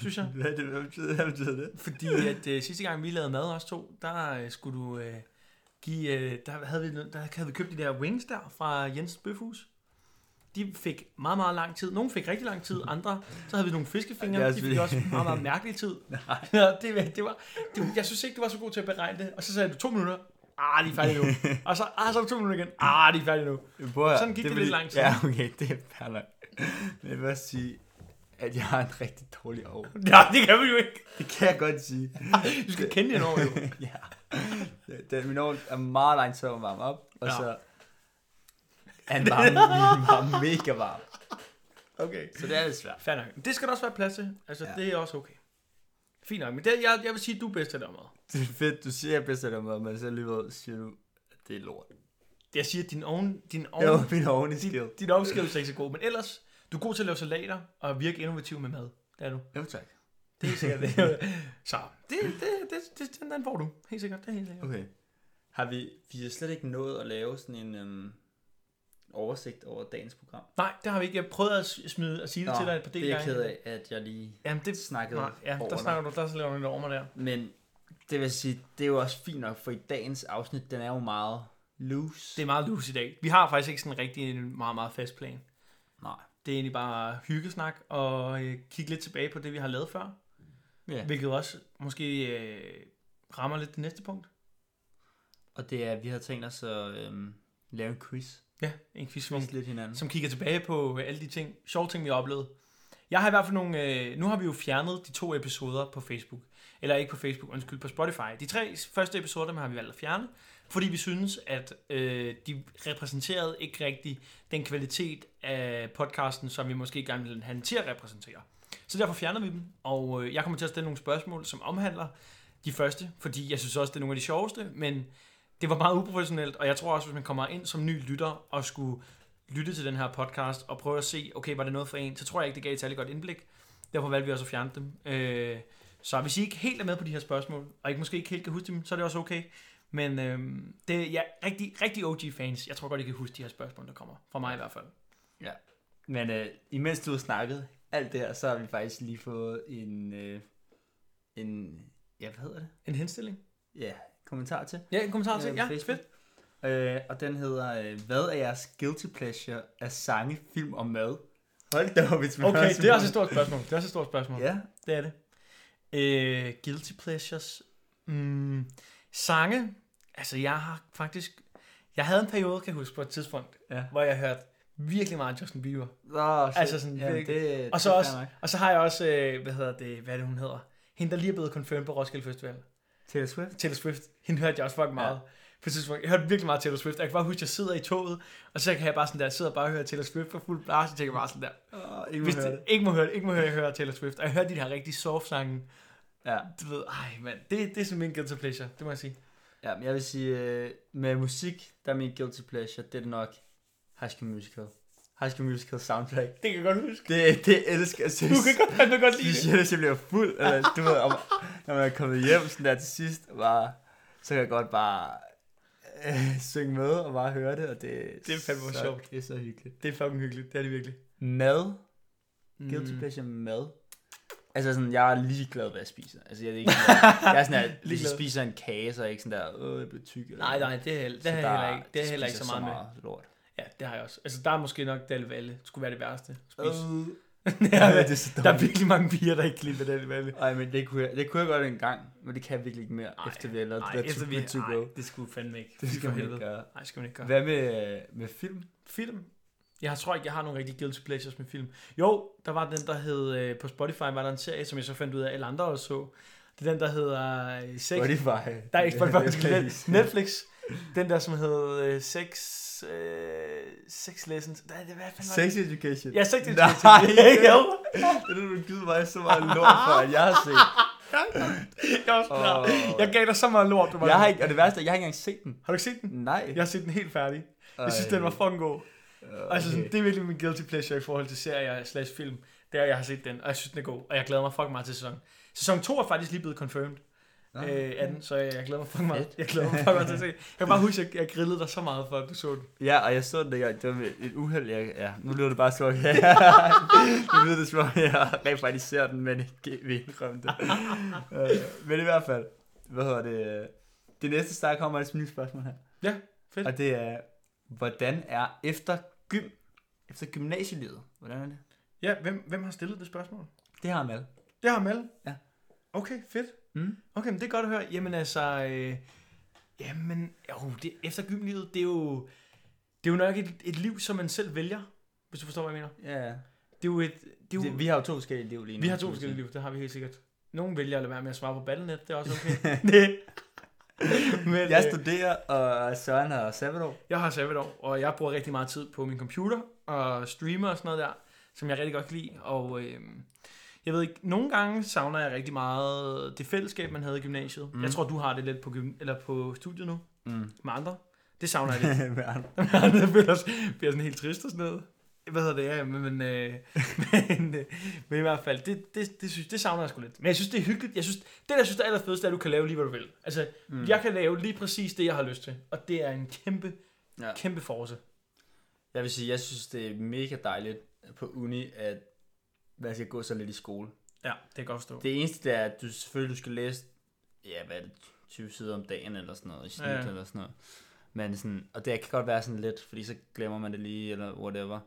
synes jeg.
Hvad, det, hvad, betyder, hvad betyder det?
Fordi at øh, sidste gang vi lavede mad os to, der øh, skulle du øh, give, øh, der, havde vi, noget- der havde vi købt de der wings der fra Jens Bøfhus. De fik meget, meget lang tid. Nogle fik rigtig lang tid, andre, så havde altså vi nogle
Ja,
fiskefingre,
det er
de fik
selvfølgelig-
også meget, meget mærkelig tid. Ja, det, var- det var, det, var- jeg synes ikke, du var så god til at beregne det. Og så sagde du to minutter, ah, de er færdige nu. Og så, ah, så var det to minutter igen, ah, de er færdige nu.
Prøv,
Sådan gik det lidt lang tid.
Ja, okay, det er fair nok. Men jeg vil også sige, at jeg har en rigtig dårlig år.
Nej, det kan vi jo ikke.
Det kan jeg godt sige.
Du skal kende din år, jo.
ja. Den, min år er meget lang tid at varme op, og
Ja.
ja. så er den bare, bare mega varm.
Okay.
Så det er lidt svært.
Fair nok. Det skal der også være plads til. Altså, ja.
Ja.
det er også okay. Fint nok, men det, jeg, jeg vil sige, at du er bedst til det område.
Det er fedt, du siger, at jeg bedst er med, men så alligevel siger du, at det er lort.
Jeg siger, at din oven, din oven,
Jo, min oven i skill.
din, din ovnskrivelse er ikke så god, men ellers, du er god til at lave salater og virke innovativ med mad. Det er du.
Jo, tak.
Det er helt sikkert det. Så det, det, det, det, den, den får du. Helt sikkert, det er helt sikkert.
Okay. Har vi, vi har slet ikke nået at lave sådan en øhm, oversigt over dagens program.
Nej, det har vi ikke. Jeg prøvede at s- smide og sige det til dig et par
det
del
er jeg
gange.
ked af, at jeg lige
Jamen, det
snakkede
nej, ja,
over
der
dig.
snakker du, der slager du lidt over mig der.
Men det vil sige, det er jo også fint nok, for i dagens afsnit, den er jo meget loose.
Det er meget loose i dag. Vi har faktisk ikke sådan rigtig en meget, meget fast plan.
Nej.
Det er egentlig bare hyggesnak og øh, kigge lidt tilbage på det, vi har lavet før.
Ja.
Hvilket også måske øh, rammer lidt det næste punkt.
Og det er, at vi har tænkt os at øhm, lave en quiz.
Ja, en quiz, som,
Quiz lidt hinanden.
som kigger tilbage på øh, alle de ting, sjove ting, vi har oplevet. Jeg har i hvert fald nogle... Øh, nu har vi jo fjernet de to episoder på Facebook. Eller ikke på Facebook, undskyld, på Spotify. De tre første episoder, dem har vi valgt at fjerne. Fordi vi synes, at øh, de repræsenterede ikke rigtig den kvalitet af podcasten, som vi måske gerne ville have den til at repræsentere. Så derfor fjerner vi dem, og øh, jeg kommer til at stille nogle spørgsmål, som omhandler de første, fordi jeg synes også, det er nogle af de sjoveste, men det var meget uprofessionelt, og jeg tror også, hvis man kommer ind som ny lytter og skulle lytte til den her podcast og prøve at se, okay, var det noget for en, så tror jeg ikke, det gav et særlig godt indblik. Derfor valgte vi også at fjerne dem. Øh, så hvis I ikke helt er med på de her spørgsmål, og ikke måske ikke helt kan huske dem, så er det også okay. Men øh, det er ja, rigtig, rigtig OG-fans. Jeg tror godt, I kan huske de her spørgsmål, der kommer. Fra mig i hvert fald.
Ja. Men øh, imens du har snakket alt det her, så har vi faktisk lige fået en... Øh, en ja, hvad hedder det?
En henstilling?
Ja, kommentar til.
Ja, en kommentar til.
øh,
Ja,
på
fedt.
Facebook. Øh, og den hedder, øh, hvad er jeres guilty pleasure af sange, film og mad? Hold da op, hvis man
Okay,
har
det er også et stort spørgsmål. Det er også et stort spørgsmål.
Ja,
Det er det. Øh, guilty pleasures. Mm, sange. Altså, jeg har faktisk... Jeg havde en periode, kan jeg huske, på et tidspunkt,
Ja.
hvor jeg hørte virkelig meget Justin Bieber.
Oh,
Altså sådan virkelig.
det,
Og så,
det er
også,
fair nok.
og så har jeg også, øh, hvad hedder det, hvad er det, hun hedder? Hende, der lige er blevet confirmed på Roskilde Festival.
Taylor Swift.
Taylor Swift, hende hørte jeg også fucking meget. Ja. På et tidspunkt, jeg hørte virkelig meget Taylor Swift. Jeg kan bare huske, at jeg sidder i toget, og så kan jeg bare sådan der, sidder og bare og hører Taylor Swift for fuld blast, og tænker bare sådan der.
Oh, ikke
Hvis
må høre
det, ikke må høre det, ikke må høre, jeg hører Taylor Swift. Og jeg hører de her rigtig soft sange.
Ja,
Du ved, ej mand, det, det er sådan min guilty pleasure, det må jeg sige.
ja men jeg vil sige, øh, med musik, der er min guilty pleasure, det er nok High School Musical. High School Musical soundtrack.
Det kan jeg godt huske.
Det, det elsker jeg synes.
Du kan godt, han vil godt lide det.
Specielt hvis jeg bliver fuld, eller du ved, om, når man er kommet hjem sådan der til sidst, bare, så kan jeg godt bare øh, synge med og bare høre det, og det,
Det er fandme
så,
sjovt.
Det er så hyggeligt.
Det er fucking hyggeligt. Det er det virkelig.
Mad.
Mm.
Guilty pleasure mad. Altså sådan, jeg er ligeglad, hvad jeg spiser. Altså jeg er ikke sådan, der- jeg er sådan der, hvis jeg
Ligeglad.
spiser en kage, så er jeg ikke sådan der, åh, jeg bliver tyk. Eller
Nej, nej, det er, heller- det er heller ikke, det er heller ikke så meget, med.
med. Lort.
Ja, det har jeg også. Altså, der er måske nok Dalle Valle. Det skulle være det værste. at
Øh,
Spise.
ja, det er så
der er
dumt.
virkelig mange piger, der ikke lide Dalle Valle.
Ej, men det kunne, jeg, det kunne jeg godt engang, men det kan jeg virkelig ikke mere,
Ej,
efter vi har lavet
Nej,
det der
efter
to,
vi,
vi, to
nej,
go.
det skulle fandme ikke.
Det
Fy
skal
for
man ikke
helvede.
gøre.
Nej, det skal man ikke gøre.
Hvad med, øh, med film?
Film? Jeg tror ikke, jeg har nogen rigtig guilty pleasures med film. Jo, der var den, der hed... øh, På Spotify var der en serie, som jeg så fandt ud af, at alle andre også så. Det er den, der hedder... øh, Sex.
Spotify.
Der er ikke Spotify.
Det er
men
please.
Netflix. Den der, som hed øh, Sex... Øh, sex Lessons. Nej, det, hvad fanden var
Sex Education.
det? Ja, Sex
Nej,
Education.
jo.
Nej,
Det er du givet mig så meget lort for, at jeg har set.
jeg, var sådan
Åh.
der. jeg gav dig så meget lort. Du var
Jeg har
sådan-
ikke, og det værste er, at jeg har ikke engang set den.
har du ikke set den?
Nej.
Jeg har set den helt færdig. Jeg synes, den var fucking god. Okay. Altså, sådan, det er virkelig min guilty pleasure i forhold til serier slash film. Det er, jeg har set den, og jeg synes, den er god. Og jeg glæder mig fucking meget til sæson. Sæson 2 er faktisk lige blevet confirmed
Nå.
øh, af den, så jeg, jeg glæder mig fucking meget.
Fedt.
Jeg glæder mig fucking meget til at se. Jeg kan bare huske, at jeg, jeg grillede dig så meget for, at du så den.
Ja, og jeg så den dengang. Det var med et uheld. Jeg, ja, nu lyder det bare så okay. nu lyder det som om, jeg rent faktisk ser den, men ikke vil indrømme det. Øh, men i hvert fald, hvad hedder det? øh, Det næste stak kommer et nyt spørgsmål her.
Ja, fedt.
Og det er, hvordan er efter gym, efter gymnasielivet, hvordan er det?
Ja, hvem, hvem har stillet det spørgsmål?
Det har Mal.
Det har Mal.
Ja.
Okay, fedt.
Mm.
Okay, men det er godt at høre. Jamen altså, øh, jamen, jo, det, efter gymlivet, det er jo, det er jo nok et, et liv, som man selv vælger, hvis du forstår, hvad jeg mener.
Ja,
Det er jo et, det er jo,
det, vi har jo to forskellige liv lige nu.
Vi har to forskellige liv, det har vi helt sikkert. Nogle vælger at lade være med at svare på Battlenet, det er også okay. det. Men,
Jeg
øh,
studerer, og Søren har sabbatår.
jeg har sabbatår, og jeg bruger rigtig meget tid på min computer og streamer og sådan noget der, som jeg rigtig godt kan lide. Og øh, jeg ved ikke, nogle gange savner jeg rigtig meget det fællesskab, man havde i gymnasiet. Mm.
Mm.
Jeg tror, du har det lidt på, gym- eller på studiet nu
Mm.
med andre. Det savner jeg lidt.
Med andre.
Jeg bliver, også- bliver sådan helt trist og sådan noget. Hvad hedder det? Ja, men, men, øh, men, øh, men i hvert fald, det, det, det, synes, det savner jeg sgu lidt. Men jeg synes, det er hyggeligt. Jeg synes, det, jeg synes, der er allerfedest, er, at du kan lave lige, hvad du vil. Altså, mm. jeg kan lave lige præcis det, jeg har lyst til. Og det er en kæmpe,
Mm. Ja.
ja. kæmpe force.
Jeg vil sige, jeg synes, det er mega dejligt på uni, at man skal gå så lidt i skole.
Ja, det kan jeg godt forstå. Det,
Det eneste, det er, at du selvfølgelig du skal læse, ja, hvad er det, 20 sider om dagen eller sådan noget, i snit
Ja,
ja,
ja.
eller sådan noget. Men sådan, og det kan godt være sådan lidt, fordi så glemmer man det lige, eller whatever.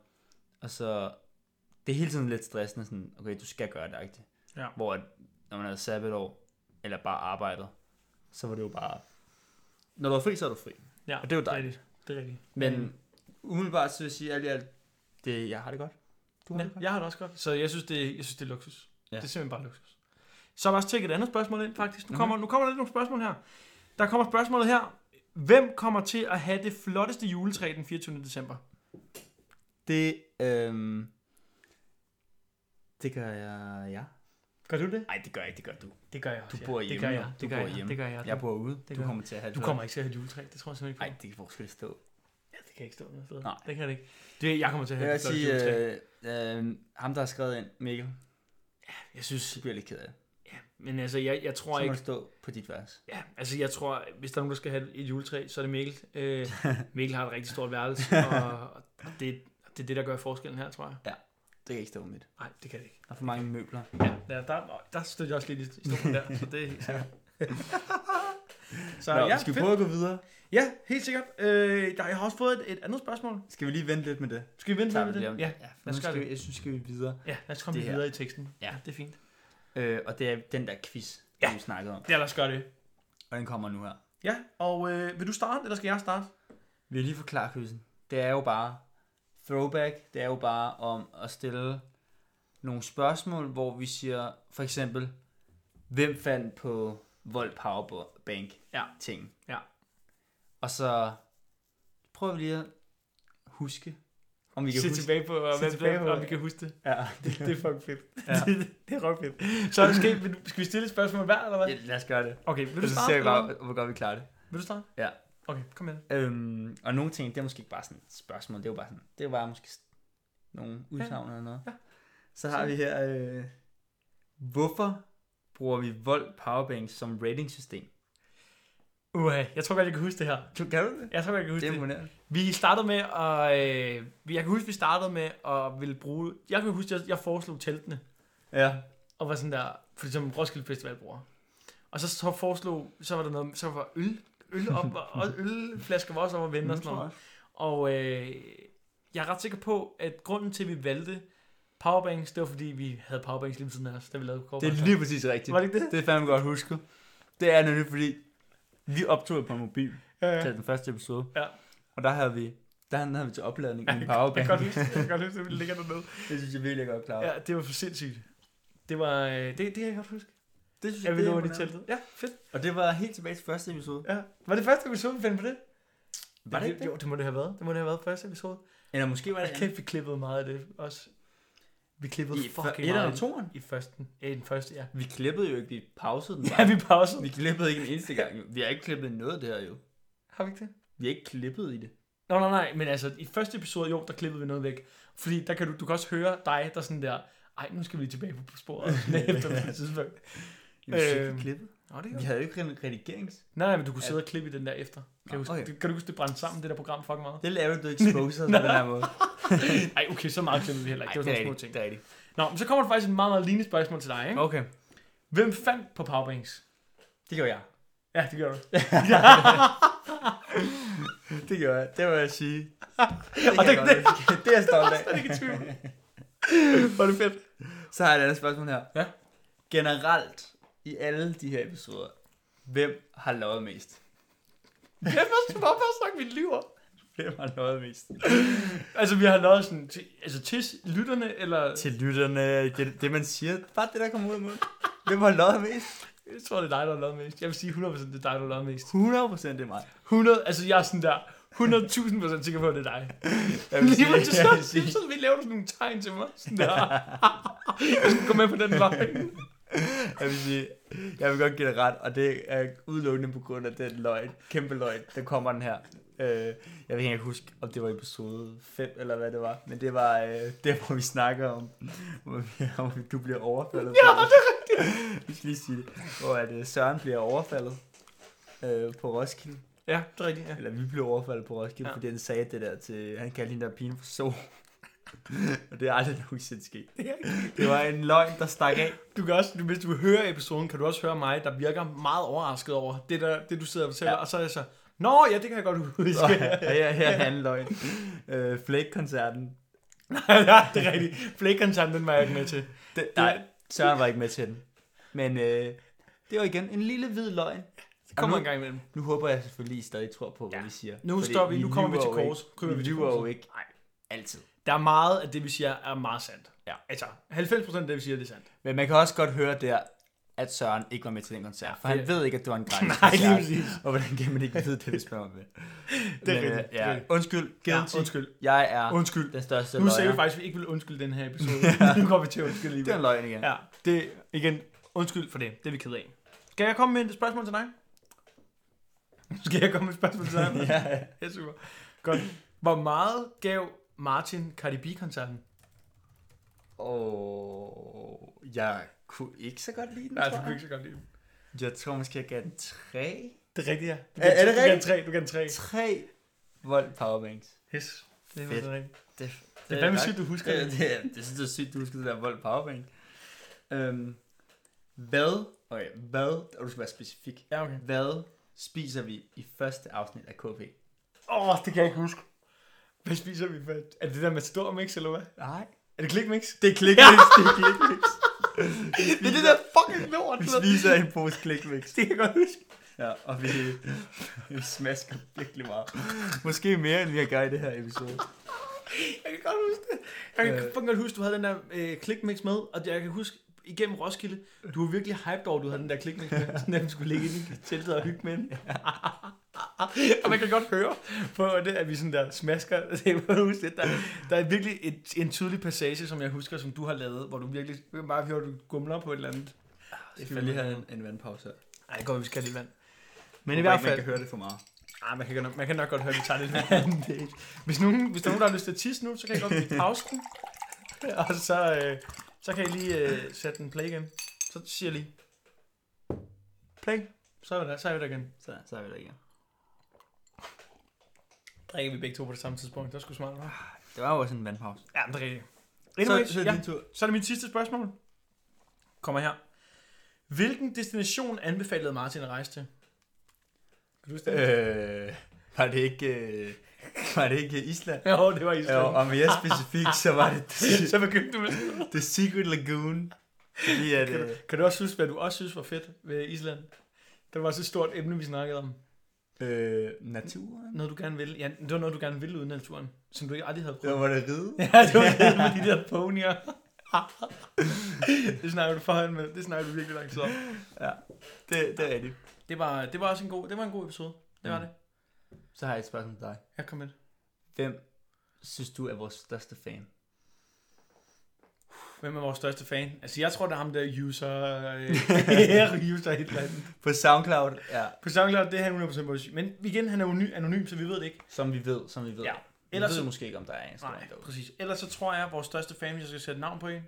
Og så, det er hele tiden lidt stressende, sådan, okay, du skal gøre det, rigtigt.
Ja.
Hvor at, når man havde sabbatår, eller bare arbejdet, så var det jo bare, når du er fri, så er du fri.
ja,
og det er jo
er
dejligt.
rigtigt. Det er rigtigt.
Men umiddelbart, så vil jeg sige, alt i alt, det, jeg har det godt. Du har
Ja,
det godt.
jeg har det også godt. Så jeg synes, det, jeg synes, det er luksus.
Ja.
Ja. Det er simpelthen bare luksus. Så har vi også tjekket et andet spørgsmål ind, faktisk.
Mhm.
Nu kommer, mm-hmm. nu kommer der lidt nogle spørgsmål her. Der kommer spørgsmålet her. Hvem kommer til at have det flotteste juletræ den 24. december?
Det, øhm, det gør jeg, ja.
Gør du det?
Nej, det gør jeg ikke, det gør du.
Det gør jeg også,
Du bor
ja.
hjemme,
Det gør
jo.
jeg.
Du
Det gør
bor
jeg.
hjemme.
Det gør jeg.
Jeg bor ude,
Det
du
gør
kommer til at have det
Du
godt.
kommer ikke til at have et juletræ. Det tror jeg simpelthen
Nej,
ikke på.
det kan hvor skal det stå.
Ja, det kan jeg ikke stå noget sted.
Nej.
Det kan det ikke. Det, jeg kommer til at
Jeg
have
vil
et flot
sige,
juletræ.
øh, øh, ham der har skrevet ind, Mikkel,
Jeg synes,
så bliver jeg lidt ked af det. øh,
men altså, jeg, jeg tror
Så må
ikke...
det stå på dit vers.
Ja, altså jeg tror, hvis der er nogen, der skal have et juletræ, så er det Mikkel. Øh, Mikkel har et rigtig stort værelse, og, og det, det er det, der gør forskellen her, tror jeg.
Det kan ikke stå på mit.
Nej, det kan det ikke.
Der er for mange møbler.
Ja, der, der, der stod jeg også lidt i stolen der, så det er helt sikkert. så
Nå,
ja,
skal vi
fedt.
prøve at gå videre?
ja, helt sikkert. Øh, der, jeg har også fået et, et andet spørgsmål.
Skal vi lige vente lidt med det?
Skal vi vente
Tager
lidt med
lige
det?
om-
Ja,
ja for
lad os
nu
gøre
skal
det.
vi, jeg synes, skal vi videre.
ja, lad os komme
Det her.
videre i teksten.
Ja.
det er fint.
Øh, og det er den der quiz,
Ja.
du snakkede om.
Ja, lad os gøre det.
Og den kommer nu her.
Ja, og øh, vil du starte, eller skal jeg starte?
Vi vil lige forklare quizzen. Det er jo bare throwback. Det er jo bare om at stille nogle spørgsmål, hvor vi siger, for eksempel, hvem fandt på Volt Powerbank
Ja.
ting?
Ja.
Og så prøver vi lige at huske, om vi kan
Se
huske.
tilbage på, og
Se
hvem
tilbage
tilbage
på,
på, om
ja.
vi kan huske det.
Ja.
Det, det er fucking fedt.
Ja.
Ja. det, det er røvfedt. Så skal, vil du- skal vi stille et spørgsmål hver, eller hvad?
ja, lad os gøre det.
Okay, vil
Og
du
så
starte?
ser vi
eller
bare, hvor godt vi klarer det.
hvad? Vil du starte?
Ja.
Okay, kom med.
Øhm, og nogle ting, det er måske ikke bare sådan et spørgsmål, det er jo bare sådan, det er jo bare måske nogle udsagn eller noget. Så har vi her, øh, hvorfor bruger vi volt powerbanks som ratingsystem?
Uha, jeg tror godt, jeg kan huske det her.
Du kan du det?
Jeg tror godt, jeg kan
Det
huske
er
det.
imponerende.
Vi startede med at... Øh, vi- jeg kan huske, vi startede med at ville bruge... Jeg kan huske, jeg, jeg foreslog teltene.
Ja.
Og var sådan der... For som Roskilde Festival bruger. Og så, så foreslog... Så var der noget... Så var øl, øl op, og ølflasker var også om at vende og sådan
Mm,
noget. Og øh, jeg er ret sikker på, at grunden til, at vi valgte powerbanks, det var fordi, vi havde powerbanks lige ved siden af os, da vi lavede
Det er lige præcis rigtigt.
Var det ikke det?
Det er fandme godt husket. Det er nemlig fordi, vi optog jo på en mobil
Ja, ja.
til den første episode.
Ja.
Og der havde vi, der havde vi til opladning en
Jeg
powerbank.
kan godt huske, det. jeg kan godt huske, at vi ligger dernede.
Det synes jeg virkelig jeg godt klar. over.
Ja, det var for sindssygt. Det var, øh, det, det kan jeg godt huske.
Det synes
Jeg
det
ville
er
over det
imponerende.
teltet. Ja, fedt.
Og det var helt tilbage til første episode.
Ja. Var det første episode, vi fandt på det?
Var det ikke det?
Jo, det må det have været. Det må det have været første episode.
Eller måske var det
Jeg kæft, vi klippede meget af det også. Vi klippede
I
fucking
et
meget.
eller toeren.
I førsten. Ja, i den første, ja.
Vi klippede jo ikke, vi pausede den
Ja,
bare.
vi pausede.
vi klippede ikke en eneste gang. jo. Vi har ikke klippet noget af det her jo.
Har vi ikke det?
Vi har ikke klippet i det.
Nå, nej, nej, men altså, i første episode, jo, der klippede vi noget væk. Fordi der kan du, du kan også høre dig, der sådan der, ej, nu skal vi lige tilbage på sporet, sådan efter på et tidspunkt.
Vi har ikke
Øhm,
klippet.
Nå, det
Vi havde jo ikke en redigerings.
Nej, nej, men du kunne sidde og klippe i den der efter. Kan,
Nå,
jeg huske,
okay.
det, kan du huske, det brændte sammen, det der program, fucking meget?
Det laver du exposer på den her måde.
Ej, okay, så meget klippede vi heller ikke. Det var sådan nogle små ting.
Det er rigtigt.
Nå, men så kommer der faktisk et meget, meget lignende spørgsmål til dig, ikke?
Okay,
Hvem fandt på powerbanks?
det gjorde jeg.
Ja, det gør du.
Det gjorde jeg. Det må jeg sige.
Og
kan jeg
det-
godt lide. det er jeg stolt af.
Det er ikke i tvivl.
Var det fedt. Så har jeg et andet spørgsmål her.
Ja.
Generelt, i alle de her episoder, hvem har lavet mest?
Hvorfor, hvorfor snakker vi lyver?
Hvem har lavet mest?
Altså, vi har lavet sådan, til, altså til lytterne, eller...
Til lytterne, det, det man siger, bare det der kommer ud af munden. Hvem har lavet mest?
Jeg tror, det er dig, der har lavet mest. Jeg vil sige 100% det er dig, der har lavet mest.
100% det er mig.
100, altså jeg er sådan der, 100.000 procent sikker på, at det er dig.
Jeg vil
Lige
sige-
præcis,
jeg vil
så,
sige-
så vi laver du sådan nogle tegn til mig. Sådan der. jeg skal gå med på den vej.
Jeg vil sige, jeg vil godt give dig ret, og det er udelukkende på grund af den løgn, kæmpe løgn, der kommer den her. Øh, jeg kan ikke engang huske, om det var episode 5 eller hvad det var, men det var øh, der, hvor vi snakker om, om, om du bliver overfaldet. Ja, det er rigtigt. Vi skal lige sige det. Hvor at, øh, Søren bliver overfaldet øh, på Roskilde,
Ja, det er rigtigt, ja.
eller vi blev overfaldet på Roskilde,
Ja.
ja. fordi han sagde det der til, han kaldte hende der pigen for so. og det er aldrig nogensinde sket. Det var en løgn, der stak af.
Du kan også, du, hvis du hører episoden, kan du også høre mig, der virker meget overrasket over det, der, det du sidder og fortæller. Ja.
Ja.
Og så er jeg så, Nå, ja, det kan jeg godt huske.
Nå, her, her er han løgn. Øh, Flake-koncerten.
ja, det er rigtigt. Flækkontant, den var jeg ikke med til.
Den- Nej, Søren var ikke med til den. Men øh, det var igen en lille hvid løgn.
Det kommer
Og
en
nu,
gang imellem.
nu håber jeg selvfølgelig, I stadig tror på, hvad
Ja.
vi siger.
Nu står vi- nu kommer vi
lyver
til
jo ikke.
kors. Kryber
Vi
vi til
lyver jo
korset.
ikke. Nej, altid.
Der er meget af det, vi siger, er meget sandt.
Ja.
Altså, 90% af det, vi siger, det er sandt.
Men man kan også godt høre der, at Søren ikke var med til den koncert.
Ja,
for han
det-
ved ikke, at det var en gratis
Nej,
koncert.
lige præcis.
Og hvordan kan man ikke vide det, hvis man var med?
Det er
Men, øh,
rigtigt, det er
Ja.
rigtigt.
Undskyld, Ah. guilty.
Ja, undskyld.
Jeg er
Undskyld.
den største
Nu sagde vi
løgner.
faktisk, at vi ikke ville undskylde den her episode. nu går vi til at undskylde lige.
Det er en løgn igen.
Ja, det igen, undskyld for det. Det er vi ked af. Skal jeg komme med et spørgsmål til dig? Skal jeg komme med et spørgsmål til dig?
ja.
ja, super. Godt. Hvor meget gav Martin Cardi B-koncerten?
Og jeg kunne ikke så godt lide den, tror jeg.
så godt lide.
Jeg tror måske, jeg gav den 3.
Det er rigtigt, ja. Du
Er- er det
du kan
rigtigt?
tre, du kan tre.
3 volt powerbanks.
Yes. Det er
Fedt.
faktisk rigtigt.
Det,
Det er fandme sygt, du husker
det.
det.
Det, det, er- det synes jeg er sygt, du husker det der volt powerbank. Øhm, hvad, okay, hvad, og du skal være specifik.
Ja, okay.
Hvad spiser vi i første afsnit af KP?
Åh, oh, det kan jeg ikke huske. Hvad spiser vi først? Er det det der med stor mix, eller hvad?
Nej.
Er det klikmix?
Det er klikmix, det er klikmix.
Det er det der fucking lort.
Vi
du ved.
spiser en pose klikmix.
Det kan jeg godt huske.
Ja, og vi, vi smasker virkelig meget. Måske mere, end vi har gjort i det her episode.
Jeg kan godt huske det. Jeg kan
Øh.
fucking godt huske, du havde den der øh, klikmix med, og jeg kan huske, igennem Roskilde, du var virkelig hyped over, at du havde den der klikmix med, sådan at den skulle ligge inde i teltet og hygge med den. og man kan godt høre på det, at vi sådan der smasker. Det kan jeg huske det. Der, der er virkelig et, en tydelig passage, som jeg husker, som du har lavet, hvor du virkelig du kan bare høre, at du gumler på et eller andet.
Skal vi lige have en, en vandpause her?
Ej, det går, vi skal have lidt vand. Men
Men
i hvert fald,
høre det for meget.
Ah, man, kan godt nok, man kan nok godt høre, at vi tager det lidt anden del. Hvis, nogen, hvis der er nogen, der har lyst til at tisse nu, så kan I godt lige pause den. Og så, øh, så kan I lige øh, sætte den play igen. Så siger jeg lige. Play. Så er vi der, så er vi der igen.
Så, så er vi der igen.
Drikker vi begge to på det samme tidspunkt. Det er sgu smart, hva'?
Det var jo også en vandpause.
Ja, men det er rigtigt.
Anyway,
Anyways,
så, så er det
ja.
din tur.
Så er det mit sidste spørgsmål. Kommer her. Hvilken destination anbefalede Martin at rejse til? Kan du huske det?
Øh, var det ikke, øh, var det ikke Island?
Øh, Jo, det var
Jo,
Island.
og mere specifikt, så var det
Så begyndte du med
The Secret Lagoon. Fordi at,
kan,
øh,
du, kan du også huske, hvad du også synes var fedt ved Island? Det var så et stort emne, vi snakkede om.
øh, naturen?
Noget, du gerne ville. Ja, det var noget, du gerne ville uden naturen, som du ikke aldrig havde
Det
prøvet.
var det ride.
Ja, det var fedt med de der ponyer. det snakker du forhånd med. Det snakker du virkelig langt om.
Det, det er rigtigt.
Det var, det var også en god, det var en god episode. Det var
Mm.
det.
Så har jeg et spørgsmål til dig.
Jeg kom med.
Hvem synes du er vores største fan?
Hvem er vores største fan? Altså, jeg tror, det er ham der user... Øh, user et eller andet.
På SoundCloud, ja.
På SoundCloud, det er han 100% vores. Men igen, han er jo ny, anonym, så vi ved det ikke.
Som vi ved, som vi ved.
Ja.
Vi
Ellers
Ellers ved
så-
måske ikke, om der er en stor
Nej,
en derude.
præcis. Ellers så tror jeg, at vores største fan, hvis jeg skal sætte navn på en,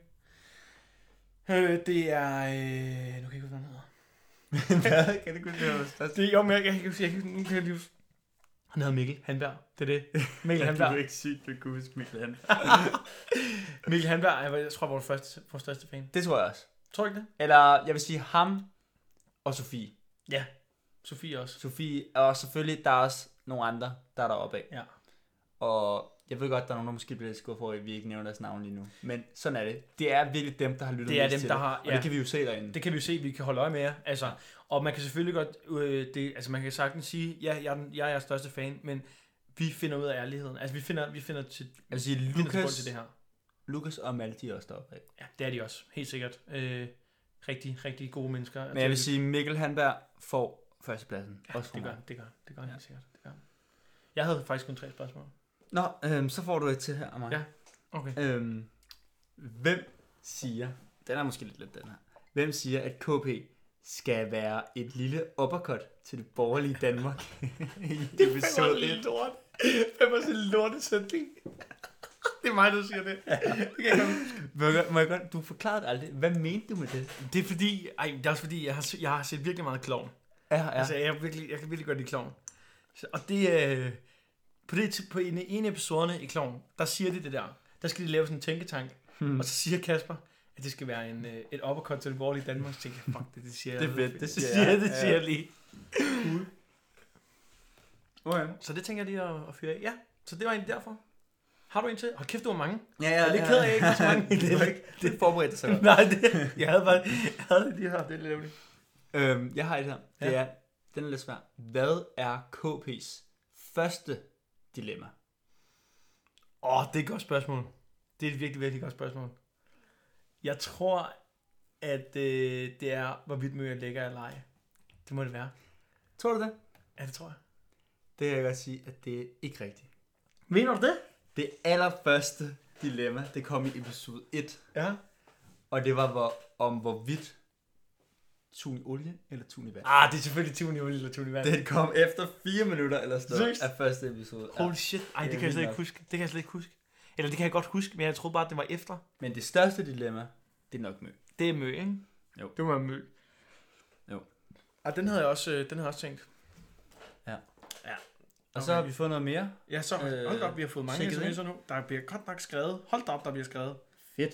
øh, det er... Øh, nu kan jeg ikke huske, hvad han hedder.
Hvad? kan det kunne være vores største
Det er jo, men jeg kan ikke huske, jeg kan ikke- nu kan jeg lige huske. Han hedder Mikkel Hanberg. Det er det. Mikkel
Du er
Hanberg.
ikke sygt, du kunne huske Mikkel Hanberg.
Mikkel Hanberg er, jeg tror, vores, første, vores største fan.
Det tror jeg også.
Tror du ikke det?
Eller jeg vil sige ham og Sofie.
Sofie også.
Sofie, og selvfølgelig, der er også nogle andre, der er deroppe af.
Ja.
Og jeg ved godt, der er nogen, der måske bliver lidt skuffet over, at vi ikke nævner deres navn lige nu. Men sådan er det. Det er virkelig dem, der har lyttet
Det er
mest
dem,
til
der har-
Og
ja.
det kan vi jo se derinde.
Det kan vi jo se, vi kan holde øje med jer. Altså, og man kan selvfølgelig godt, øh, det, altså man kan sagtens sige, ja, jeg er, den, jeg er jeres største fan, men vi finder ud af ærligheden. Altså vi finder, vi finder til,
Jeg vil sige,
finder til grund
Lukas,
til det her.
Lukas og Malte er også deroppe af.
Ja, det er de også, helt sikkert. Øh, rigtig, rigtig gode mennesker.
Men jeg vil sige, Mikkel Hanberg får førstepladsen.
ja,
også for
det gør,
mig.
det gør, det gør
Ja.
ja. helt sikkert. Det gør. han. Jeg havde faktisk kun tre spørgsmål.
Nå, øhm, så får du et til her af mig.
Ja. Okay.
Øhm, hvem siger, den er måske lidt let den her, hvem siger, at KP skal være et lille uppercut til det borgerlige Danmark i episode 1?
lort. Det var sådan en lortet sætning. Det er mig, der siger det.
Må jeg godt- må jeg godt- Du forklarede det aldrig. Hvad mente du med det?
Det er fordi, ej, det er også fordi, jeg har, jeg har set virkelig meget klovn.
Ja, ja.
Ja. Altså, jeg, er virkelig, jeg kan virkelig godt lide klovn. Så- Og det, øh, på, det, ti- på en, en af episoderne i klovn, der siger de det der. Der skal de lave sådan en tænketank.
Hmm.
Hmm. Og så siger Kasper, at det skal være en, øh, et uppercut til det borgerlige Danmark. Så tænker jeg, fuck det, det siger jeg.
Det er fedt, det
Det
siger
siger, jeg,
jeg.
det
Ja.
siger jeg lige.
okay.
Så det tænker jeg lige at, at fyre af. Ja, så det var en derfor. Har du en til? Hold kæft, du har mange.
Ja, ja,
Jeg er lidt ked af, at jeg ikke har så mange.
det, er ikke- det forberedte dig så godt.
Nej, det, jeg havde bare jeg havde de her. Det er lidt ærgerligt.
Øhm, jeg har et her. Det
Ja.
er, den er lidt svær. Hvad er KP's første dilemma?
Åh, det er et godt spørgsmål. Det er et virkelig, virkelig godt spørgsmål. Jeg tror, at øh, det er, hvorvidt møger lægger eller ej. Det må det være.
Tror du det?
Ja, det tror jeg.
Det kan jeg godt sige, at det er ikke rigtigt.
Mener du det?
Det allerførste dilemma, det kom i episode 1,
Ja.
og det var hvor, om hvorvidt tun i olie eller tun i vand.
Ah, det er selvfølgelig Tune Jule eller Tune Vand.
Den kom efter 4 minutter eller sådan noget
Seriøst?
af første episode. Ja.
Holy shit. Ej,
Det er
det, det kan jeg
vildt
slet ikke
nok.
huske. Det kan jeg slet ikke huske. Eller det kan jeg godt huske, men jeg troede bare, at det var efter.
Men det største dilemma, det er nok mø.
Det er mø, ikke?
Jo.
Det var mø.
Jo.
Og den havde jeg også, øh, den havde jeg også tænkt.
Og
Okay.
så har vi fået noget mere.
Ja, så
Øh,
hold da op, vi har fået mange
tjekket ind.
sms'er nu. Der bliver godt nok skrevet. Hold da op, der bliver skrevet.
Fedt.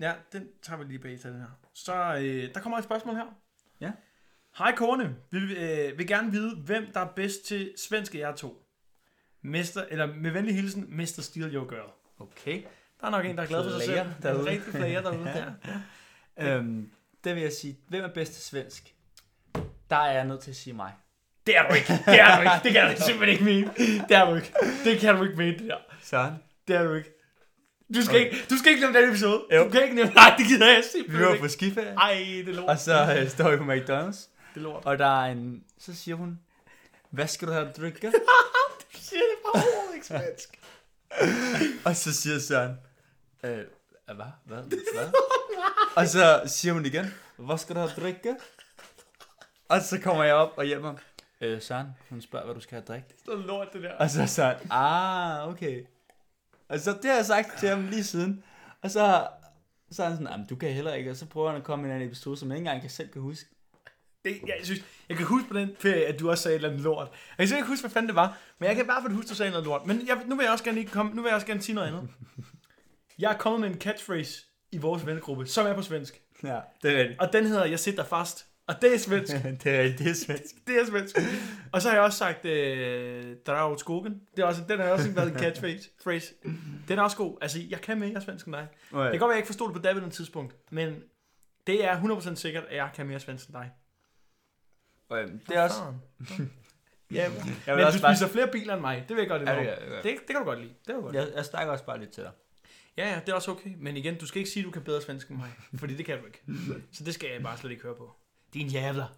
Ja, den tager vi lige bag til den her. Så øh, der kommer et spørgsmål her.
Ja.
Hej kone, vi øh, vil gerne vide, hvem der er bedst til svenske jer to. Mester, eller med venlig hilsen, Mester Steel Your Girl.
Okay.
Der er nok en, der er glad for sig selv.
Player derude.
En rigtig player derude.
Ja.
ja.
Øhm, der vil jeg sige, hvem er bedst til svensk? Der er jeg nødt til at sige mig.
Det er du ikke. Det er du ikke. Det kan du simpelthen ikke mene. Det er du ikke. Det kan du ikke mene, det der.
Sådan.
Det er du ikke. Du skal, ikke, du skal ikke nævne den episode.
Jo.
Du kan ikke nævne... Nej, det gider jeg
Vi
simpelthen
var
ikke.
på skiferie,
Ej, det er lort.
og så øh, står vi på McDonald's,
Det er lort.
og der er en, så siger hun, hvad skal du have at drikke?
Shit, det er bare overhovedet ikke svensk.
Og så siger Søren, øh, hvad? Hvad? Hvad? og så siger hun igen, hvad skal du have at drikke? Og så kommer jeg op og hjælper ham. øh, Søren, hun spørger, hvad du skal have at drikke.
Så lort det der.
Og så sagde han, ah, okay. Og så det har jeg sagt til ham lige siden. Og så, så er han sådan, jamen du kan heller ikke. Og så prøver han at komme med en anden episode, som jeg ikke engang kan selv kan huske.
Det, jeg, synes, jeg kan huske på den ferie, at du også sagde et eller andet lort. Jeg kan simpelthen ikke huske, hvad fanden det var, men jeg kan i hvert fald huske, at du sagde noget lort. Men jeg, nu vil jeg også gerne lige komme, nu vil jeg også gerne sige noget andet. Jeg er kommet med en catchphrase i vores vennegruppe, som er på svensk.
Ja, det er rigtigt.
Og den hedder, jeg sidder fast. Og det er svensk.
det er rigtigt, det er svensk.
Det er svensk. Og så har jeg også sagt, øh, drag åt skogen. Det er også, den har jeg også været en catchphrase. Phrase. Den er også god. Altså, jeg kan mere svensk end dig. Det kan godt være, jeg ikke forstod det på daværende tidspunkt, men det er 100% sikkert, at jeg kan mere svensk end dig.
Og, øhm, det er også...
Sådan. Ja,
Jeg
men
vil
du
også bare...
spiser flere biler end mig. Det vil jeg godt
Ja, det gør
indrømme.
jeg, det gør jeg.
det, det kan du godt lide. Det kan du godt lide.
Jeg, jeg snakker også bare lidt til dig.
Ja, ja, det er også okay. Men igen, du skal ikke sige, at du kan bedre svensk end mig. Fordi det kan du ikke. Så det skal jeg bare slet ikke høre på. Din jævler.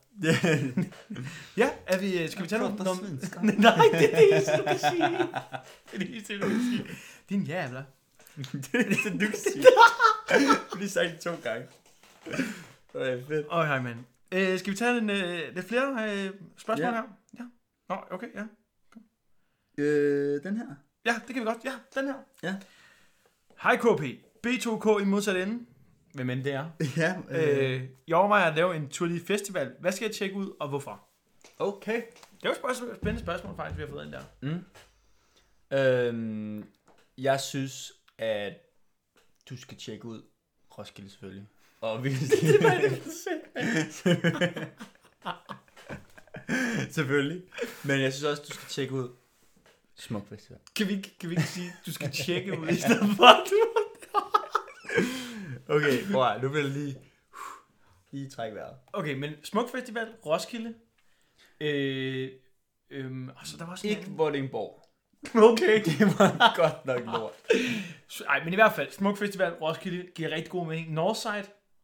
Ja, er vi, skal vi tage nogle... nogle- Nej, det er det eneste, du kan sige. Det er det eneste, du kan sige. Din jævler.
det er det, du kan sige. Lige sagt det to gange. Okay, fedt.
Åh, oh, hej, mand. Øh, skal vi tage en, øh, lidt flere øh, spørgsmål
Ja.
her? Ja. Nå, okay, ja.
Øh, den her.
Ja, det kan vi godt. Ja, den her.
Ja.
Hej KP. B2K i modsat ende. Hvem end det er.
Ja,
Øh, jeg overvejer at lave en Tour de Festival. Hvad skal jeg tjekke ud, og hvorfor?
okay.
Det er jo et spørgsmål- spændende spørgsmål, faktisk, vi har fået ind der.
Mm. Øhm, jeg synes, at du skal tjekke ud Roskilde selvfølgelig. Og vi... det var det, Selvfølgelig. Men jeg synes også, du skal tjekke ud Smuk Festival.
Kan vi, ikke- kan vi ikke sige, at du skal tjekke ud, i stedet for, at du...
Okay, prøv at, nu vil jeg lige... Lige trække vejret.
Okay, men Smuk Festival, Roskilde. Øh, øhm, og så der var sådan
Ikke
en...
Vordingborg.
Okay.
Det var godt nok lort.
Ej, men i hvert fald, Smuk Festival, Roskilde, giver rigtig god mening. Northside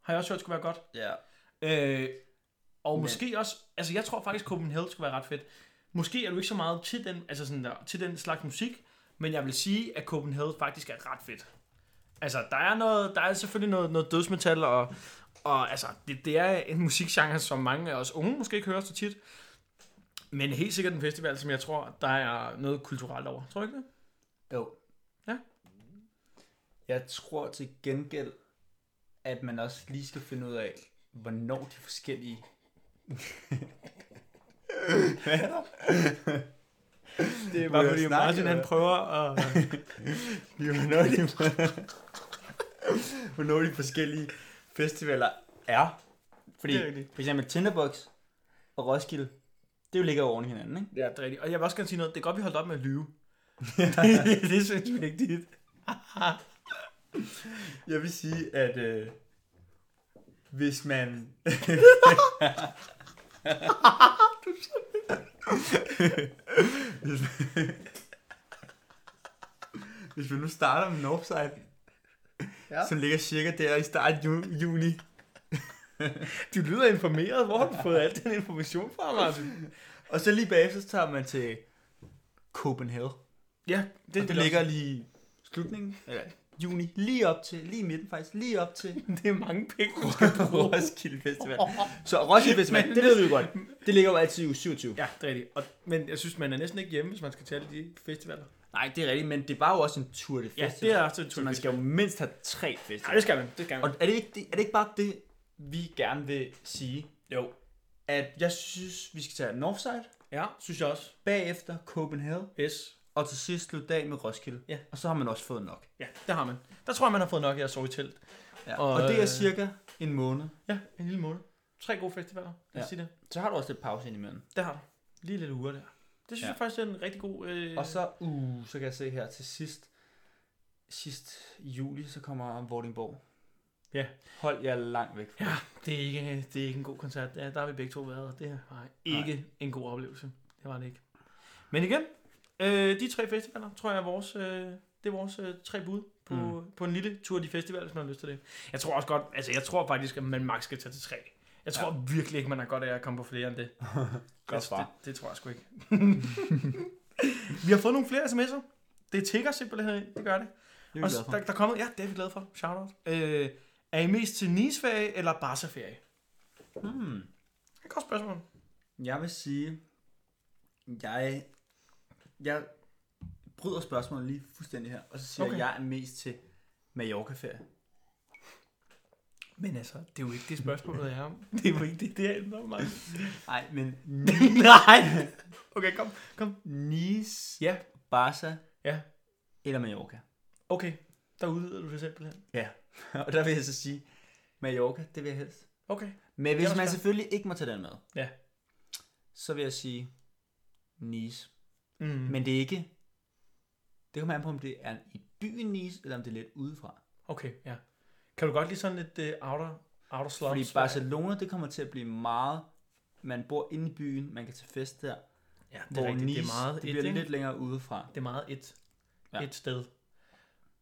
har jeg også hørt, skulle være godt.
Ja.
Øh, og
Men-
måske også, altså jeg tror faktisk, Copenhagen skulle være ret fedt. Måske er du ikke så meget til den, altså sådan der, til den slags musik, men jeg vil sige, at Copenhagen faktisk er ret fedt. Altså, der er, noget, der er selvfølgelig noget, noget dødsmetal, og, og altså, det, det, er en musikgenre, som mange af os unge måske ikke hører så tit. Men helt sikkert en festival, som jeg tror, der er noget kulturelt over. Tror du ikke det?
Jo.
Ja.
Jeg tror til gengæld, at man også lige skal finde ud af, hvornår de forskellige... det er
Bare fordi Martin, han prøver at...
Hvornår de... hvornår de forskellige festivaler er. Fordi
Det er rigtigt.
for eksempel Tinderbox og Roskilde, det jo ligger jo oven i hinanden, ikke?
Ja, det er rigtigt. Og jeg vil også gerne sige noget. Det er godt, vi holdt op med at lyve. det, det synes jeg vigtigt.
Jeg vil sige, at øh, hvis man... hvis, man hvis man nu starter med Northside,
Ja.
ja. som ligger cirka der i starten af ju- juni,
Du lyder informeret. Hvor har du fået al den information fra, Martin?
og så lige bagefter så tager man til Copenhagen.
Ja, det,
Det, det ligger lige slutningen, eller juni, lige op til, lige i midten faktisk, lige op til
Det er mange penge, du skal bruge.
Roskilde Festival. Så Roskilde Festival, det ved vi jo godt. Det ligger jo altid i uge 27.
Ja, det er rigtigt. Og, men jeg synes, man er næsten ikke hjemme, hvis man skal tage alle de festivaler.
Nej, det er rigtigt, men det var jo også en tur de
Ja,
festival.
det er også en
Så
tur.
man skal jo mindst have tre
Ja,
festivaler.
det skal man. Det skal man.
Og er det, ikke, det, er det ikke bare det, vi gerne vil sige?
Jo.
At jeg synes, vi skal tage Northside,
Ja, synes jeg også.
bagefter Copenhagen,
Yes.
og til sidst slutte dag med Roskilde.
Ja.
Og så har man også fået nok.
Ja, det har man. Der tror jeg, man har fået nok af at sove i telt.
Ja.
Og,
Og, og det er
øh,
cirka en måned.
Ja, en lille måned. Tre gode festivaler. Lad os
Ja.
sige det.
Så har du også lidt pause indimellem.
Det har du. Lige lidt uger der. Det synes ja.
Ja.
jeg faktisk er en rigtig god... Øh...
Og så, uh, så kan jeg se her til sidst, sidst i juli, så kommer Vordingborg.
Ja.
Hold jer langt væk fra
Ja, det er ikke, det er ikke en god koncert. Ja, der har vi begge to været, og det her var ikke Nej. en god oplevelse. Det var det ikke. Men igen, øh, de tre festivaler, tror jeg, er vores, øh, det er vores øh, tre bud på, mm. på en lille tur af de festivaler, hvis man har lyst til det. Jeg tror også godt, altså jeg tror faktisk, at man max skal tage til tre. Jeg tror ja. virkelig ikke, man har godt af at komme på flere end det. Altså,
Godt
det,
svar.
det tror jeg sgu ikke. vi har fået nogle flere sms'er. Det tigger simpelthen, det gør det.
Det er vi
Og
glade for.
der, der er kommet, ja, det er vi glade for. Shout out. Øh, er I mest til Nice-ferie eller Barca-ferie?
Hmm.
Det er et godt spørgsmål.
Jeg vil sige, Jeg, jeg bryder spørgsmålet lige fuldstændig her, og så siger okay.
Okay.
jeg, jeg er mest til Mallorca-ferie.
Men altså, det er jo ikke det spørgsmål, der er om. Det er jo ikke det, det handler om. altså.
Nej, men...
Nej!
Okay, kom, kom. Nice,
Ja,
Barca
ja.
eller Mallorca.
Okay, der udvider du dig simpelthen.
Ja, og der vil jeg så sige, Mallorca, det vil jeg helst.
Okay.
Men
er også
hvis man
fair.
selvfølgelig ikke må tage den med,
Ja.
så vil jeg sige Nice.
Mm.
Men det er ikke... Det kommer an på, om det er i byen Nice, eller om det er lidt udefra.
Okay, ja. Kan du godt lide sådan lidt uh, outer, outer slums?
Fordi Barcelona, det kommer til at blive meget... Man bor inde i byen, man kan tage fest der.
Ja, det
Hvor
er rigtigt.
Nice,
Det er meget
det
et,
bliver
ikke?
lidt længere udefra.
Det er meget et,
Ja.
ja. et sted.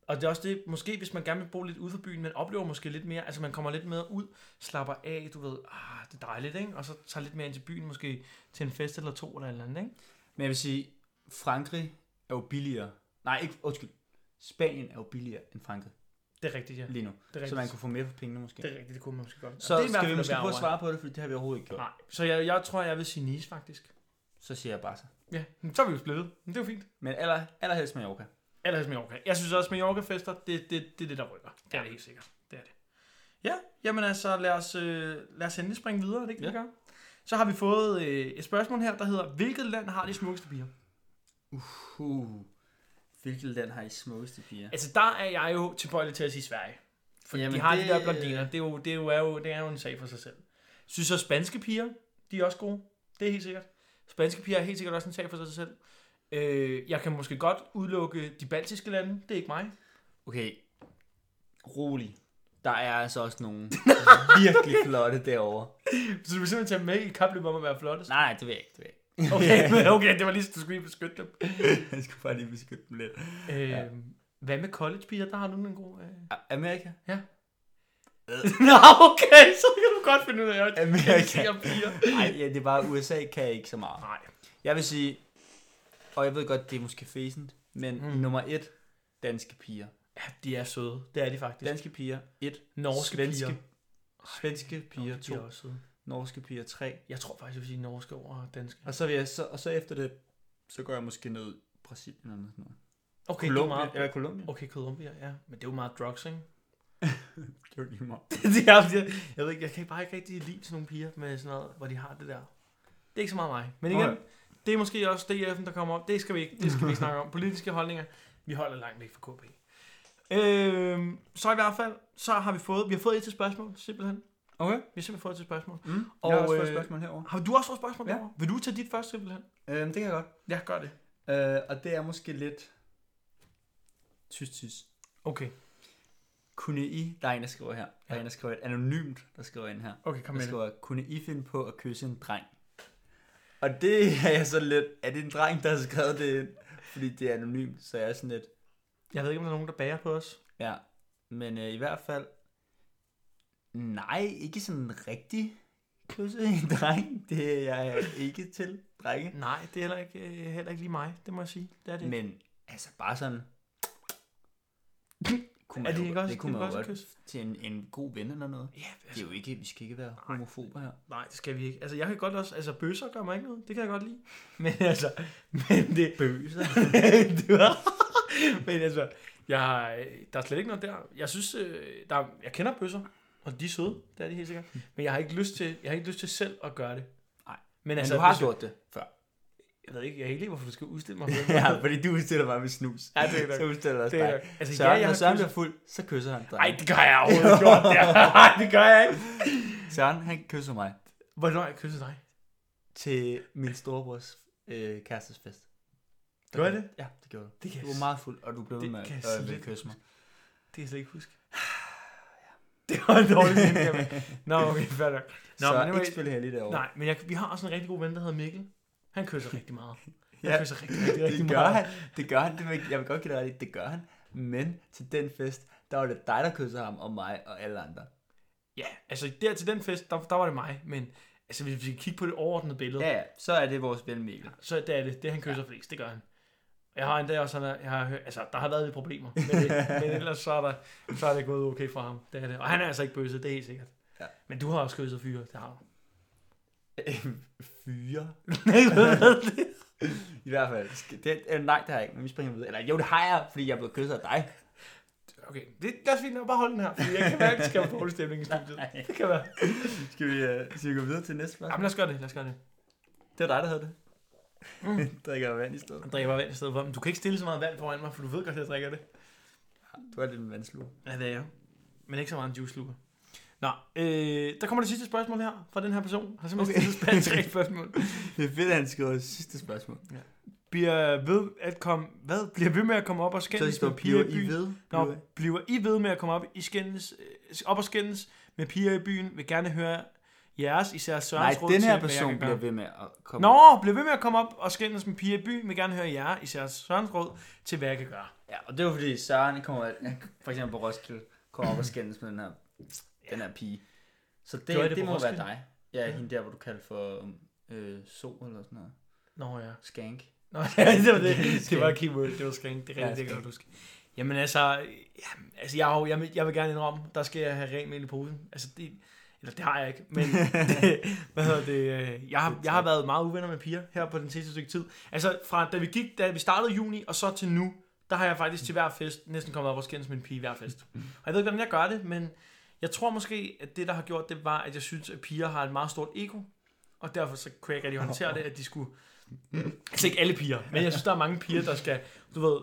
Og det er også det, måske hvis man gerne vil bo lidt ude for byen, man oplever måske lidt mere, altså man kommer lidt mere ud, slapper af, du ved, ah, det er dejligt, ikke? Og så tager lidt mere ind til byen, måske til en fest eller to eller et eller andet, ikke?
Men jeg vil sige, Frankrig er jo billigere. Nej, ikke, undskyld. Spanien er jo billigere end Frankrig
Det er rigtigt, ja. Det
lige nu.
er rigtigt.
Så man kunne få mere for pengene måske.
Det er rigtigt, det kunne man måske godt.
Så
det er i hvert
skal
fald
vi
at
måske
være
prøve at svare
overvejet.
på det, fordi det har vi overhovedet ikke gjort.
Nej, så jeg, jeg tror, jeg vil sige Nice, faktisk.
Så siger jeg bare så.
Ja, men så er vi jo splittet. Men det er jo fint.
Men aller, allerhelst Mallorca.
Ellers Mallorca. Jeg synes også, Mallorca-fester, det, det, det er det, der rykker. Det er det helt sikkert. Det er det. Ja, jamen altså, lad os, øh, lad os endelig springe videre, er det ikke ja. det, vi gør? Så har vi fået øh, et spørgsmål her, der hedder, hvilket land har de smukkeste piger?
Puh. Hvilket land har I smukkeste piger?
Altså, der er jeg jo tilbøjelig til at sige Sverige. For
Jamen,
de har
det-
de der blondiner. Det, er jo, det, er jo, er jo, det er jo en sag for sig selv. Synes så spanske piger, de er også gode. Det er helt sikkert. Spanske piger er helt sikkert også en sag for sig selv. Øh, jeg kan måske godt udelukke de baltiske lande. Det er ikke mig.
Okay. Rolig. Der er altså også nogle virkelig flotte derovre.
Så du vil simpelthen tage med i et kapløb om at være flottest?
Nej, nej, det vil jeg ikke. Det vil jeg ikke.
Okay, men okay, det var lige så, du skulle lige beskytte dem.
Jeg skulle bare lige beskytte dem lidt.
Øh, Hvad med collegepiger? Der har du en god... Øh...
Amerika?
Nå, okay, så kan du godt finde ud af at
Amerika.
organisere piger.
Nej, ja, det er bare USA kan jeg ikke så meget.
Nej.
Jeg vil sige, og jeg ved godt, det er måske fæsent, men mm.
Mm.
nummer et, danske piger.
Ja, de er søde. Det er de faktisk.
Danske piger, et.
Norske
svenske.
piger.
Svenske piger,
Norske
to.
piger er også søde.
Norske piger, tre.
Jeg tror faktisk, jeg vil sige norske over danske.
Og så, vil jeg, så, og så efter det, så går jeg måske ned i Brasilien eller noget. sådan noget.
Okay, det er meget... Oh.
eller Colombia.
Okay, Colombia, ja. Men det er jo meget drugs, ikke?
Det er jo lige meget.
det er, jeg, jeg ved ikke, jeg kan bare ikke rigtig lide sådan nogle piger med sådan noget, hvor de har det der. Det er ikke så meget mig. Men igen,
Okay.
okay. det er måske også DF'en, der kommer op. Det skal vi ikke, det skal vi ikke snakke om. Politiske holdninger, vi holder langt væk fra KB. Øhm, så i hvert fald, så har vi fået, vi har fået et til spørgsmål, simpelthen.
Okay.
Vi har simpelthen fået et til spørgsmål.
Mm. Og,
Og,
jeg har også fået et
øh,
spørgsmål herovre.
Har du også fået spørgsmål?
Ja.
Ja. Vil du tage dit først, simpelthen?
Øhm, det kan jeg godt.
Ja, gør det.
Øh, og det er måske lidt... Tys, tys.
Okay,
Kunne I... Der er en, der skriver her. Der er en, der skriver et anonymt, der skriver ind her.
okay, kom
Der
med det.
skriver, kunne I finde på at kysse en dreng? Og det er jeg sådan lidt... Er det en dreng, der har skrevet det ind? Fordi det er anonymt, så jeg er sådan lidt...
Jeg ved ikke, om der er nogen, der bager på os.
Ja, men øh, i hvert fald... Nej, ikke sådan en rigtig kysse en dreng. Det er jeg ikke til, drenge.
Nej, det er heller ikke, øh, heller ikke lige mig, det må jeg sige. Det er det.
Men altså bare sådan... Kunne
er det
jo-
ikke også,
det kunne man jo
også et
godt
kys?
til en, en god ven eller noget.
Ja, altså,
Det er jo ikke, vi skal ikke være homofober her.
Nej, det skal vi ikke. Altså, jeg kan godt også... Altså, bøsser gør mig ikke noget. Det kan jeg godt lide. Men altså... Men det... Bøsser? det var... men altså... Jeg, der er slet ikke noget der. Jeg synes... øh, Der, er- jeg kender bøsser. Og de er søde. Det er de helt sikkert. Men jeg har ikke lyst til, jeg har ikke lyst til selv at gøre det.
Nej.
Men,
Men
altså,
du har
hvis jeg,
gjort det før.
jeg ved ikke, jeg kan ikke lide, hvorfor du skal udstille mig. på den måde.
ja, fordi du udstiller mig med snus.
Ja, det er nok.
Så udstiller jeg også
det er,
dig.
nok- altså,
Søren,
ja, jeg
når
har
Søren
kysset-
bliver fuld, så kysser han dig.
Ej, det gør jeg overhovedet ikke. Nej, det gør jeg ikke.
Søren, han kysser mig
Hvornår har jeg kysset dig?
til min storebrors øh, kærestes fest. Der
Gjorde
kom-
det?
Ja, det gjorde du.
Det kan
Du
jeg
var meget fuld, og du blev ved
Det
med
kan
at
jeg
øh,
slet
ville
ikke
kysse mig.
Det kan jeg slet ikke huske. Det var en dårlig ting, Nå, okay, fair nok.
Nå,
Nå,
så
men
men
anyway-
ikke spille her lige derovre.
Nej, men jeg, vi har også en rigtig god ven, der hedder Mikkel. Han kysser rigtig meget. Han
Ja,
kysser rigtig, rigtig, rigtig
det gør
meget.
han. Det gør han. Det vil, jeg vil godt give dig ret i, det gør han. Men til den fest, der var det dig, der kyssede ham, og mig og alle andre.
Ja, altså der til den fest, der, der var det mig. Men altså, hvis vi kigger på det overordnede billede, ja.
Ja, ja, så er det vores ven Mikkel.
så det er det. Det, han kysser ja. flest, det gør han. Jeg har endda også, jeg har, hørt- altså, der har været lidt problemer. Men, det, men ellers så er, der, så er det gået okay for ham. Det er det. Og han er altså ikke bøsset, det er helt sikkert.
Ja.
Men du har også kysset fyre, det har du.
Fyre.
Nej, hvad er det?
I hvert fald. Sk- Det, øh, nej, det har jeg ikke, men vi springer videre. Eller jo, det har jeg, fordi jeg er blevet kysset af dig.
Okay, det, det er også fint nok. Bare hold den her, fordi jeg kan mærke, at det skaber dårlig stemning i studiet. Det kan være.
Skal vi, øh, skal vi gå videre til næste spørgsmål?
Jamen, lad os gøre det, lad os gøre det.
Det var dig, der havde det. Mm. Drikker jeg vand i stedet.
Jeg drikker bare vand i stedet for. Men du kan ikke stille så meget vand foran mig, for du ved godt, at jeg drikker det.
Du er lidt en vandsluger.
Ja, det er jeg. Men ikke så meget en juice luger. Nå, øh, der kommer det sidste spørgsmål her fra den her person. Han har simpelthen okay. stillet spændt tre spørgsmål.
Det er fedt, at han skriver sidste spørgsmål.
Bliver ved at komme, hvad? Bliver ved med at komme op og
Så
skændes
står
med
piver
piger i
i
byen?
ved.
Nå, bliver I ved med at komme op, i skændes, øh, op og skændes med piger i byen? Vil gerne høre jeres, især
Nej,
Sørens råd
den
til,
her
hvad jeg
person
kan gøre.
bliver ved med at komme.
Nå, bliver ved med at komme op og skændes med piger i byen? Vil gerne høre jer, især Sørens råd til, hvad jeg kan gøre.
Ja, og det var fordi Søren kommer, for eksempel på Roskilde, kommer op og skændes med den her, den her pige. Så det,
Gjorde I
det,
det
det
på
må være
Roskilde?
dig. Ja, hende der, hvor du kalder for øh, so eller sådan noget.
Nå ja.
Skank.
Nå, ja, det var det. Det
Skank.
var keyword, det var skænk. Det er
Ja,
rigtigt, det kan jeg
skænk.
godt huske. Jamen altså, jamen, altså jeg, har jo- jeg, vil- jeg vil gerne indrømme, der skal jeg have rent mel i posen. Altså det, eller det har jeg ikke, men det, hvad hedder det, øh, jeg, har, jeg har været meget uvenner med piger her på den sidste stykke tid. Altså fra da vi gik, da vi startede i juni og så til nu, der har jeg faktisk til hver fest næsten kommet op og skændes med en pige i hver fest. Og jeg ved ikke, hvordan jeg gør det, men jeg tror måske, at det, der har gjort det, var, at jeg synes, at piger har et meget stort ego. Og derfor så kunne jeg ikke rigtig håndtere det, at de skulle... Altså ikke alle piger, men jeg synes, der er mange piger, der skal... Du ved,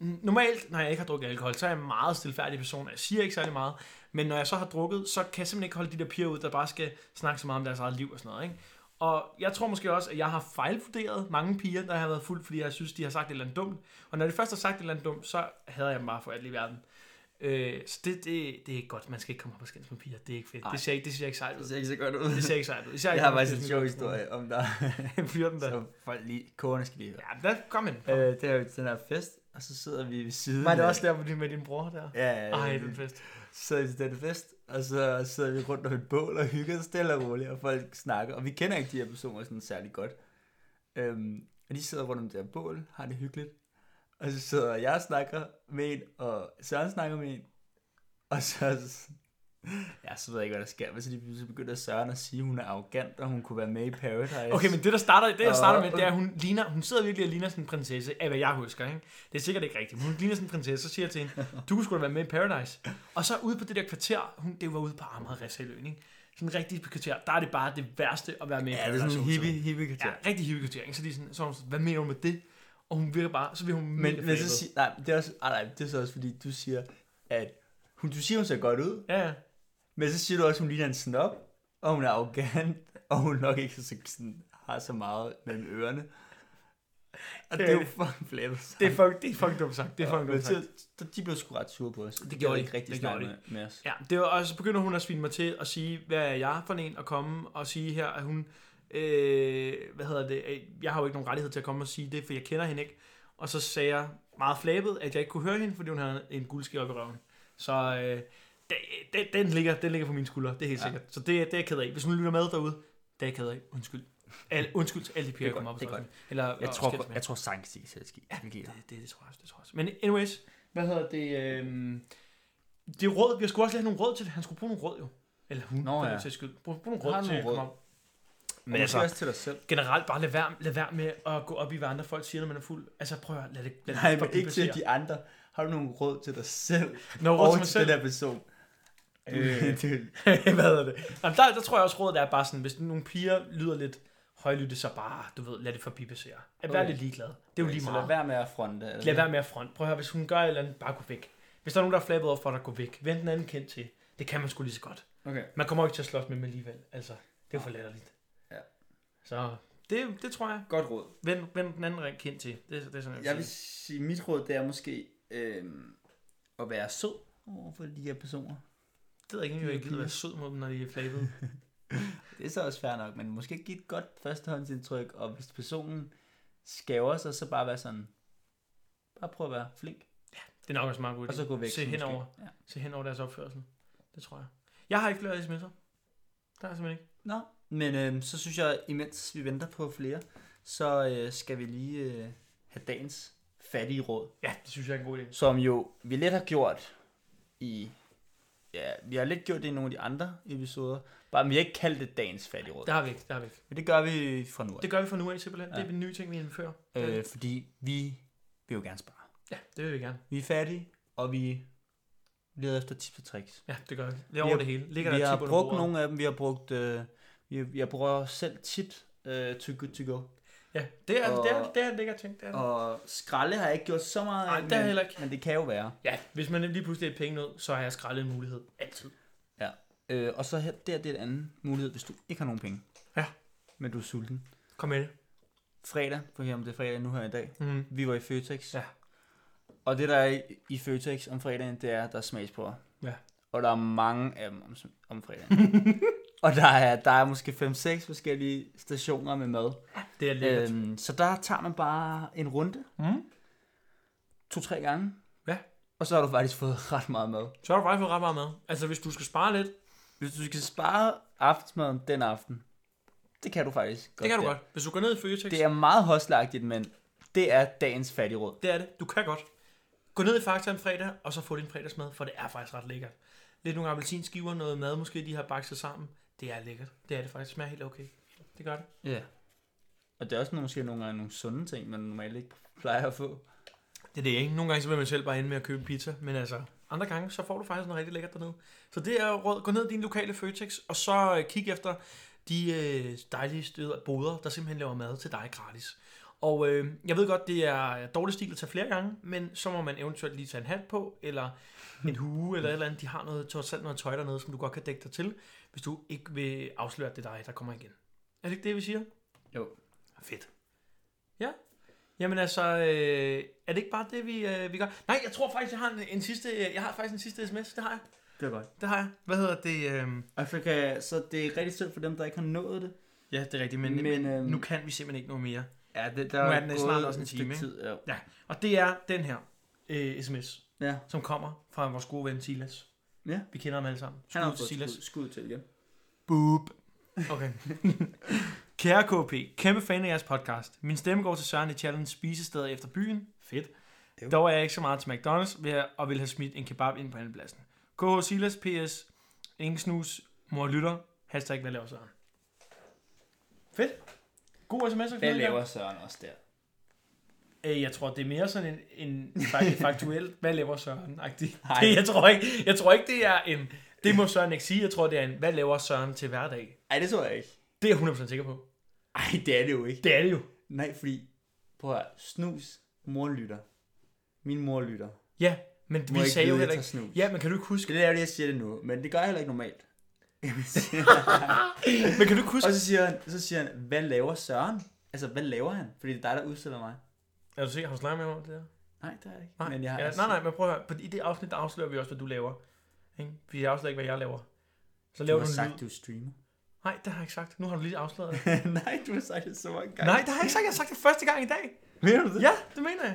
n- normalt, når jeg ikke har drukket alkohol, så er jeg en meget stilfærdig person, og jeg siger ikke særlig meget. Men når jeg så har drukket, så kan jeg simpelthen ikke holde de der piger ud, der bare skal snakke så meget om deres eget liv og sådan noget, ikke? Og jeg tror måske også, at jeg har fejlvurderet mange piger, der har været fuld, fordi jeg synes, de har sagt et eller andet dumt. Og når de først har sagt et eller andet dumt, så hader jeg dem bare for alt i verden. Øh, så det, det, det er ikke godt. Man skal ikke komme op og skændes med piger. Det er ikke fedt.
Ej.
Det ser ikke, det ser ikke sejt ud.
Det ser ikke så godt
Det
ud.
ser ikke sejt ud. Især
Jeg
ikke,
har
når man
faktisk en
bliver
sjov
sådan noget.
historie om dig,
Flirten der.
som folk lige, kogerne skal lige høre.
Ja, der kom en.
Øh, det er jo til den her fest, og så sidder vi ved siden
Var det
af-
også der med din- med din bror der?
Ja,
Ej,
Ej,
den fest.
så sidder vi til den fest, og så sidder vi rundt om et bål og hygger os stille og roligt, og folk snakker, og vi kender ikke de her personer sådan særlig godt. Øhm, og de sidder rundt om det her bål, har det hyggeligt, og så sidder jeg og snakker med en, og Søren snakker med en, og så, ja, så ved jeg ikke, hvad der sker, men så lige pludselig begynder Søren at sige, at hun er arrogant, og hun kunne være med i Paradise.
Okay, men det der starter, det jeg
Og-
starter med, det er, at hun, ligner, hun sidder virkelig og ligner sådan en prinsesse, af hvad jeg husker, ikke? Det er sikkert ikke rigtigt, men hun ligner sådan en prinsesse, så siger jeg til hende, du kunne sgu da være med i Paradise. Og så ude på det der kvarter, hun, det var ude på Amager Ræsseløen, ikke? Sådan rigtig på kvarter, der er det bare det værste at være med i
Ja, det er sådan en
Paradise,
hippie,
også.
hippie kvarter.
Ja, rigtig hippie kvarter, ikke? Så, de er sådan, så er hun sådan, hvad mener du med det? Og hun virker bare, så bliver hun mega
Men, men
flabet.
så sig, nej, det er også, ah, nej, det er så også fordi, du siger, at hun, du siger, hun ser godt ud,
Ja, ja.
men så siger du også, at hun ligner en snob, og hun er arrogant, og hun nok ikke så, sådan, har så meget mellem ørerne. Og det er jo
Øh,
fucking flabet.
Det er fucking, det er fucking dumt sagt. Det er fucking dumt sagt.
De blev sgu ret sure på os.
Det gjorde
vil
de.
ikke rigtig
Det
snakke
gjorde
med, med os.
Ja, det var, og så begynder hun at svine mig til at sige, hvad er jeg for en at komme og sige her, at hun, øh, hvad hedder det, øh, jeg har jo ikke nogen rettighed til at komme og sige det, for jeg kender hende ikke. Og så sagde jeg meget flabet, at jeg ikke kunne høre hende, fordi hun havde en guldske op i røven. Så øh, den, den, den, ligger, den ligger på mine skuldre, det er helt
Ja.
ja. sikkert. Så det, det er jeg ked af. Hvis hun lytter med derude, det er jeg ked af. Undskyld. Al, undskyld til alle de piger,
Det
der
er
kommer op.
godt, det er
og
godt.
slås med. Eller,
Jeg
og skændes
tror,
med.
jeg tror sankt sig selv ski. Ja,
Det, det, det tror jeg også, det tror jeg også. Men anyways, hvad hedder det? Øhm, det råd, vi skulle også lige have nogle råd til det. Han skulle bruge nogle råd jo. Eller hun,
Nå, ja.
til skyld. Brug, brug nogle
Har
råd
du
til at
nogle
komme
råd?
op. Men
altså,
altså,
også til dig selv.
generelt bare lad være, lad være med at gå op i, hvad andre folk siger, når man er fuld. Altså prøv at høre, lad det, lad
Nej,
det
men
fucking
ikke til
passere.
de andre. Har du nogle råd til dig selv?
Nå, råd
og
til mig
til den
selv.
her person?
Øh.
det,
hvad hedder det? Jamen, der, der tror jeg også, rådet er bare sådan, hvis nogle piger lyder lidt højlytte, så bare, du ved, lad det forbipassere. At være
Okay.
lidt ligeglad. Det er jo lige
så
meget.
lad være med at fronte. eller hvad?
Lad være med at front. Prøv at høre, hvis hun gør et eller andet, bare gå væk. Hvis der er nogen, der er flabbet over for dig, gå væk. Vend den anden kendt til. Det kan man sgu lige så godt.
Okay.
Man kommer jo ikke til at slås med dem alligevel. Altså, det er jo for latterligt.
Ja.
Så det, det tror jeg.
Godt råd.
Vend, vend den anden ring kendt til. Det, det er sådan, jeg,
Jeg vil
sige.
sige, mit råd det er måske øhm, at være sød over for de her personer.
Det ved jeg ikke, om jeg ikke gider være sød mod dem, når de er flabbet.
Det er så også fair nok, men måske give et godt førstehåndsindtryk, og hvis personen skæver sig, så bare være sådan, bare prøv at være flink,
Det er nok også meget godt.
og så gå væk.
Se
måske.
henover,
Ja.
se henover deres opførsel. Det tror jeg. Jeg har ikke flere sms'er. Der er simpelthen ikke.
Nå, men øhm, så synes jeg, imens vi venter på flere, så øh, skal vi lige øh, have dagens fattige råd,
Ja, det synes jeg er en god idé.
som jo vi lidt har gjort i ja, vi har lidt gjort det i nogle af de andre episoder. Bare, men vi har ikke kaldt det dagens fattigråd.
Der har vi ikke, der har vi ikke.
Men det gør vi fra nu af.
Det gør vi fra nu af simpelthen. Ja. Det
Ja.
er en ny ting, vi indfører.
Øh, fordi vi vil jo gerne spare.
Ja, det vil vi gerne.
Vi er fattige, og vi leder efter tips og tricks.
Ja, det gør vi. Lav
Vi
over
har-
det hele. Ligger
Ligger vi
der
har
et tip under
brugt
bordet.
nogle af dem. Vi har brugt... Øh, vi, jeg bruger selv tit øh, Too Good To Go.
Ja, det er, det er,
Og-
det er en lækker ting. Det er det.
Og skralde har jeg ikke gjort så meget
Nej,
af,
det har jeg heller ikke.
men det kan jo være.
Ja, hvis man lige pludselig er et penge ud, så har jeg skrællet en mulighed. Altid.
Øh, og så her, der det er en anden mulighed, hvis du ikke har nogen penge.
Ja.
Men du er sulten.
Kom med det.
Fredag, for her om det er fredag nu her i dag.
Mm.
Vi var i Føtex.
Ja.
Og det, der er i, i Føtex om fredagen, det er, at der er smagsprøver.
Ja.
Og der er mange af dem om, om fredagen. og der er, der er måske 5-6 forskellige stationer med mad.
Det er lækkert. Øh,
Øhm, så der tager man bare en runde.
Mm.
To-tre gange.
Ja.
Og så har du faktisk fået ret meget mad.
så har du faktisk fået ret meget med. Altså, hvis du skal spare lidt,
Hvis du skal spare aftensmaden den aften, det kan du faktisk godt.
det kan du
der.
godt. Hvis du går ned i Føtex,
Det er meget hostlagtigt, men det er dagens fattigråd.
Det er det. Du kan godt. Gå ned i Fakta en fredag, og så få din fredagsmad, for det er faktisk ret lækkert. Lidt nogle appelsinskiver, noget mad måske, de har bakset sammen. Det er lækkert. Det er det faktisk. Det smager helt okay. Det gør det.
Ja. Og det er også nogle- måske nogle gange nogle sunde ting, man normalt ikke plejer at få.
Det er det ikke. Nogle gange så vil man selv bare ende med at købe pizza, men altså andre gange, så får du faktisk noget rigtig lækkert dernede. Så det er jo råd. Gå ned i din lokale Føtex, og så øh, kig efter de øh, dejlige steder, boder, der simpelthen laver mad til dig gratis. Og øh, jeg ved godt, det er dårlig stil at tage flere gange, men så må man eventuelt lige tage en hat på, eller en hue, eller et eller andet. De har noget, trods alt noget tøj dernede, som du godt kan dække dig til, hvis du ikke vil afsløre, at det er dig, der kommer igen. Er det ikke det, vi siger?
Jo.
Fedt. Ja. Jamen altså, øh, er det ikke bare det, vi, øh, vi gør? Nej, jeg tror faktisk, jeg har en, en sidste, øh, jeg har faktisk en sidste sms. Det har jeg.
Det er godt.
Det har jeg. Hvad hedder det? Øh...
Og så, kan, så det er rigtig synd for dem, der ikke har nået det.
Ja, det er rigtigt,
men- Men, øhm,
nu kan vi simpelthen ikke noget mere.
Ja, det,
Nu
der
er den snart også en time, ikke?
tid. Ja.
Ja, og det er den her øh, sms,
ja.
som kommer fra vores gode ven Silas.
Ja.
Vi kender ham alle sammen.
Han har
Skud til
fået
Silas.
skud, skud til igen.
Boop. Okay. Kære KP, kæmpe fan af jeres podcast. Min stemme går til Søren i challenge spisesteder efter byen. Fedt.
Jo.
Dog er jeg ikke så meget til McDonald's vil jeg- og vil have smidt en kebab ind på andenpladsen. KH Silas, PS, ingen snus, mor lytter, hashtag hvad laver Søren. Fedt. God sms. og
Hvad
knald,
laver Søren også der?
Øh, jeg tror, det er mere sådan en, en fak- faktuel, hvad laver Søren? Det,
Nej.
jeg, tror ikke, jeg tror ikke, det er en, det må Søren ikke sige. Jeg tror, det er en, hvad laver Søren til hverdag?
Ej, det tror jeg ikke.
Det er jeg 100% sikker på.
Ej, det er det jo ikke.
Det er det jo.
Nej, fordi, prøv at høre, snus, mor lytter. Min mor lytter.
Ja, men
Må
vi
ikke
sagde jo
vide, jeg
heller ikke...
tager snus.
Ja, men kan du ikke huske...
Det er det, jeg siger det nu, men det gør jeg heller ikke normalt.
Men kan du ikke huske...
og så siger, han, så siger han, hvad laver Søren? Altså, hvad laver han? Fordi det er dig, der udstiller mig.
Er du sikker, har du snakket med mig om det der?
Nej, det er jeg ikke.
Nej,
men jeg har altså-
ja, nej, nej, men prøv at høre. På, I det afsnit, der afslører vi også, hvad du laver. Ikke? Vi afslører ikke, hvad jeg laver. Så
Du
laver
har
du, en
sagt,
lyd.
du er streamer.
Nej, det har jeg ikke sagt. Nu har du lige afsløret det.
nej, du har sagt det så mange gange.
nej, det har jeg ikke sagt. Jeg har sagt det første gang i dag.
Mener du det?
Ja, det mener jeg.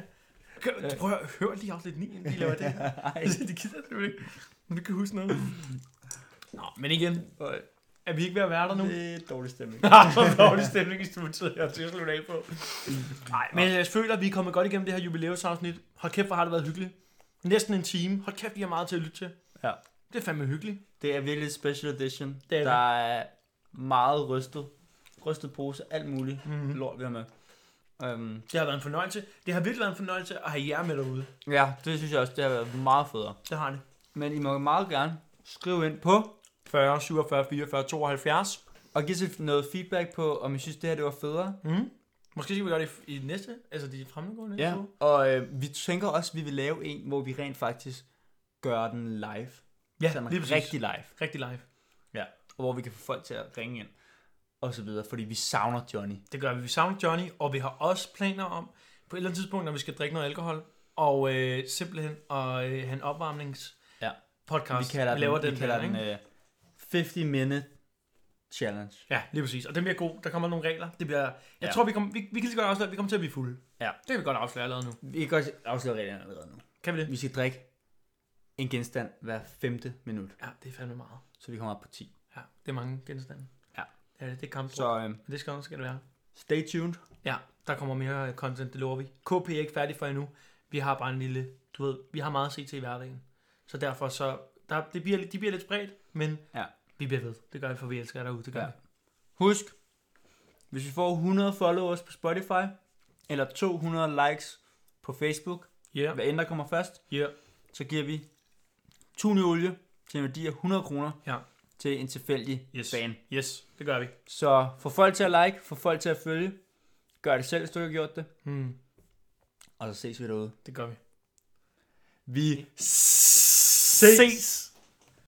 Øh.
Kan, prøv at høre, hør lige afsnit 9, inden vi laver det her.
Ej.
det gider jeg selvfølgelig ikke. Men du kan huske noget. Nå, men igen, er vi ikke ved at være der nu?
Det er dårlig stemning.
Ah, hvor dårlig stemning i studiet, jeg er til at slutte af på. Nej, men jeg føler, at vi er kommet godt igennem det her jubilæumsafsnit. Hold kæft, hvor har det været hyggeligt. Næsten en time. Hold kæft, vi har meget til at lytte til.
Ja.
Det er fandme hyggeligt.
Det er virkelig et special edition.
Det er
der er meget rystet. Rystet pose, alt muligt.
Mhm.
Lort, vi har med. Um,
Det har været en fornøjelse. Det har virkelig været en fornøjelse at have jer med derude.
ja, det synes jeg også, det har været meget federe.
Det har det.
Men I må meget gerne skrive ind på,
40, 47, 44, 72.
og give os noget feedback på, om I synes, det her det var federe.
Mm. Måske skal vi gøre det i, i næste, altså de fremgående næste
Ja,
uge.
og øh, vi tænker også, at vi vil lave en, hvor vi rent faktisk gør den live.
Ja,
Sådan
lige præcis.
rigtig live.
Rigtig live.
Og hvor vi kan få folk til at ringe ind, og så videre, fordi vi savner Johnny.
Det gør vi. Vi savner Johnny, og vi har også planer om, på et eller andet tidspunkt, når vi skal drikke noget alkohol, og øh, simpelthen at øh, have en opvarmnings
Ja.
podcast.
vi kalder
vi laver
den,
den,
vi kalder
der,
den
ikke?
øh, 50 minute challenge.
Ja, lige præcis. Og den bliver god. Der kommer nogle regler. Det bliver, jeg
Ja.
tror, vi, kommer, vi, vi kan lige så godt afsløre, at vi kommer til at blive fulde.
Ja.
Det kan vi godt afsløre allerede nu.
Vi kan godt afsløre reglerne allerede nu.
Kan vi det?
Vi skal drikke en genstand hver femte minut,
Ja, det er fandme meget.
så vi kommer op på 10.
Ja, det er mange genstande.
Ja.
Ja, det, det er kamp.
Så øh,
Men det skal, skal det være.
stay tuned.
Ja, der kommer mere øh, content, det lover vi. KP er ikke færdig for endnu. Vi har bare en lille, du ved, vi har meget at se til i hverdagen. Så derfor så Der, det bliver, de bliver lidt spredt, men
Ja.
vi bliver ved. Det gør vi, for vi elsker jer derude. Det gør
Ja.
ja. vi.
Husk, hvis vi får 100 followers på Spotify, eller 200 likes på Facebook,
Ja,
hvad end der kommer først,
ja.
så giver vi tuneolie til en værdi af 100 kroner
Ja.
til en tilfældig
Yes.
fan.
Yes, det gør vi.
Så få folk til at like, få folk til at følge. Gør det selv, hvis du ikke har gjort det.
Hmm,
Og så ses vi derude.
det gør vi.
Vi
Ses.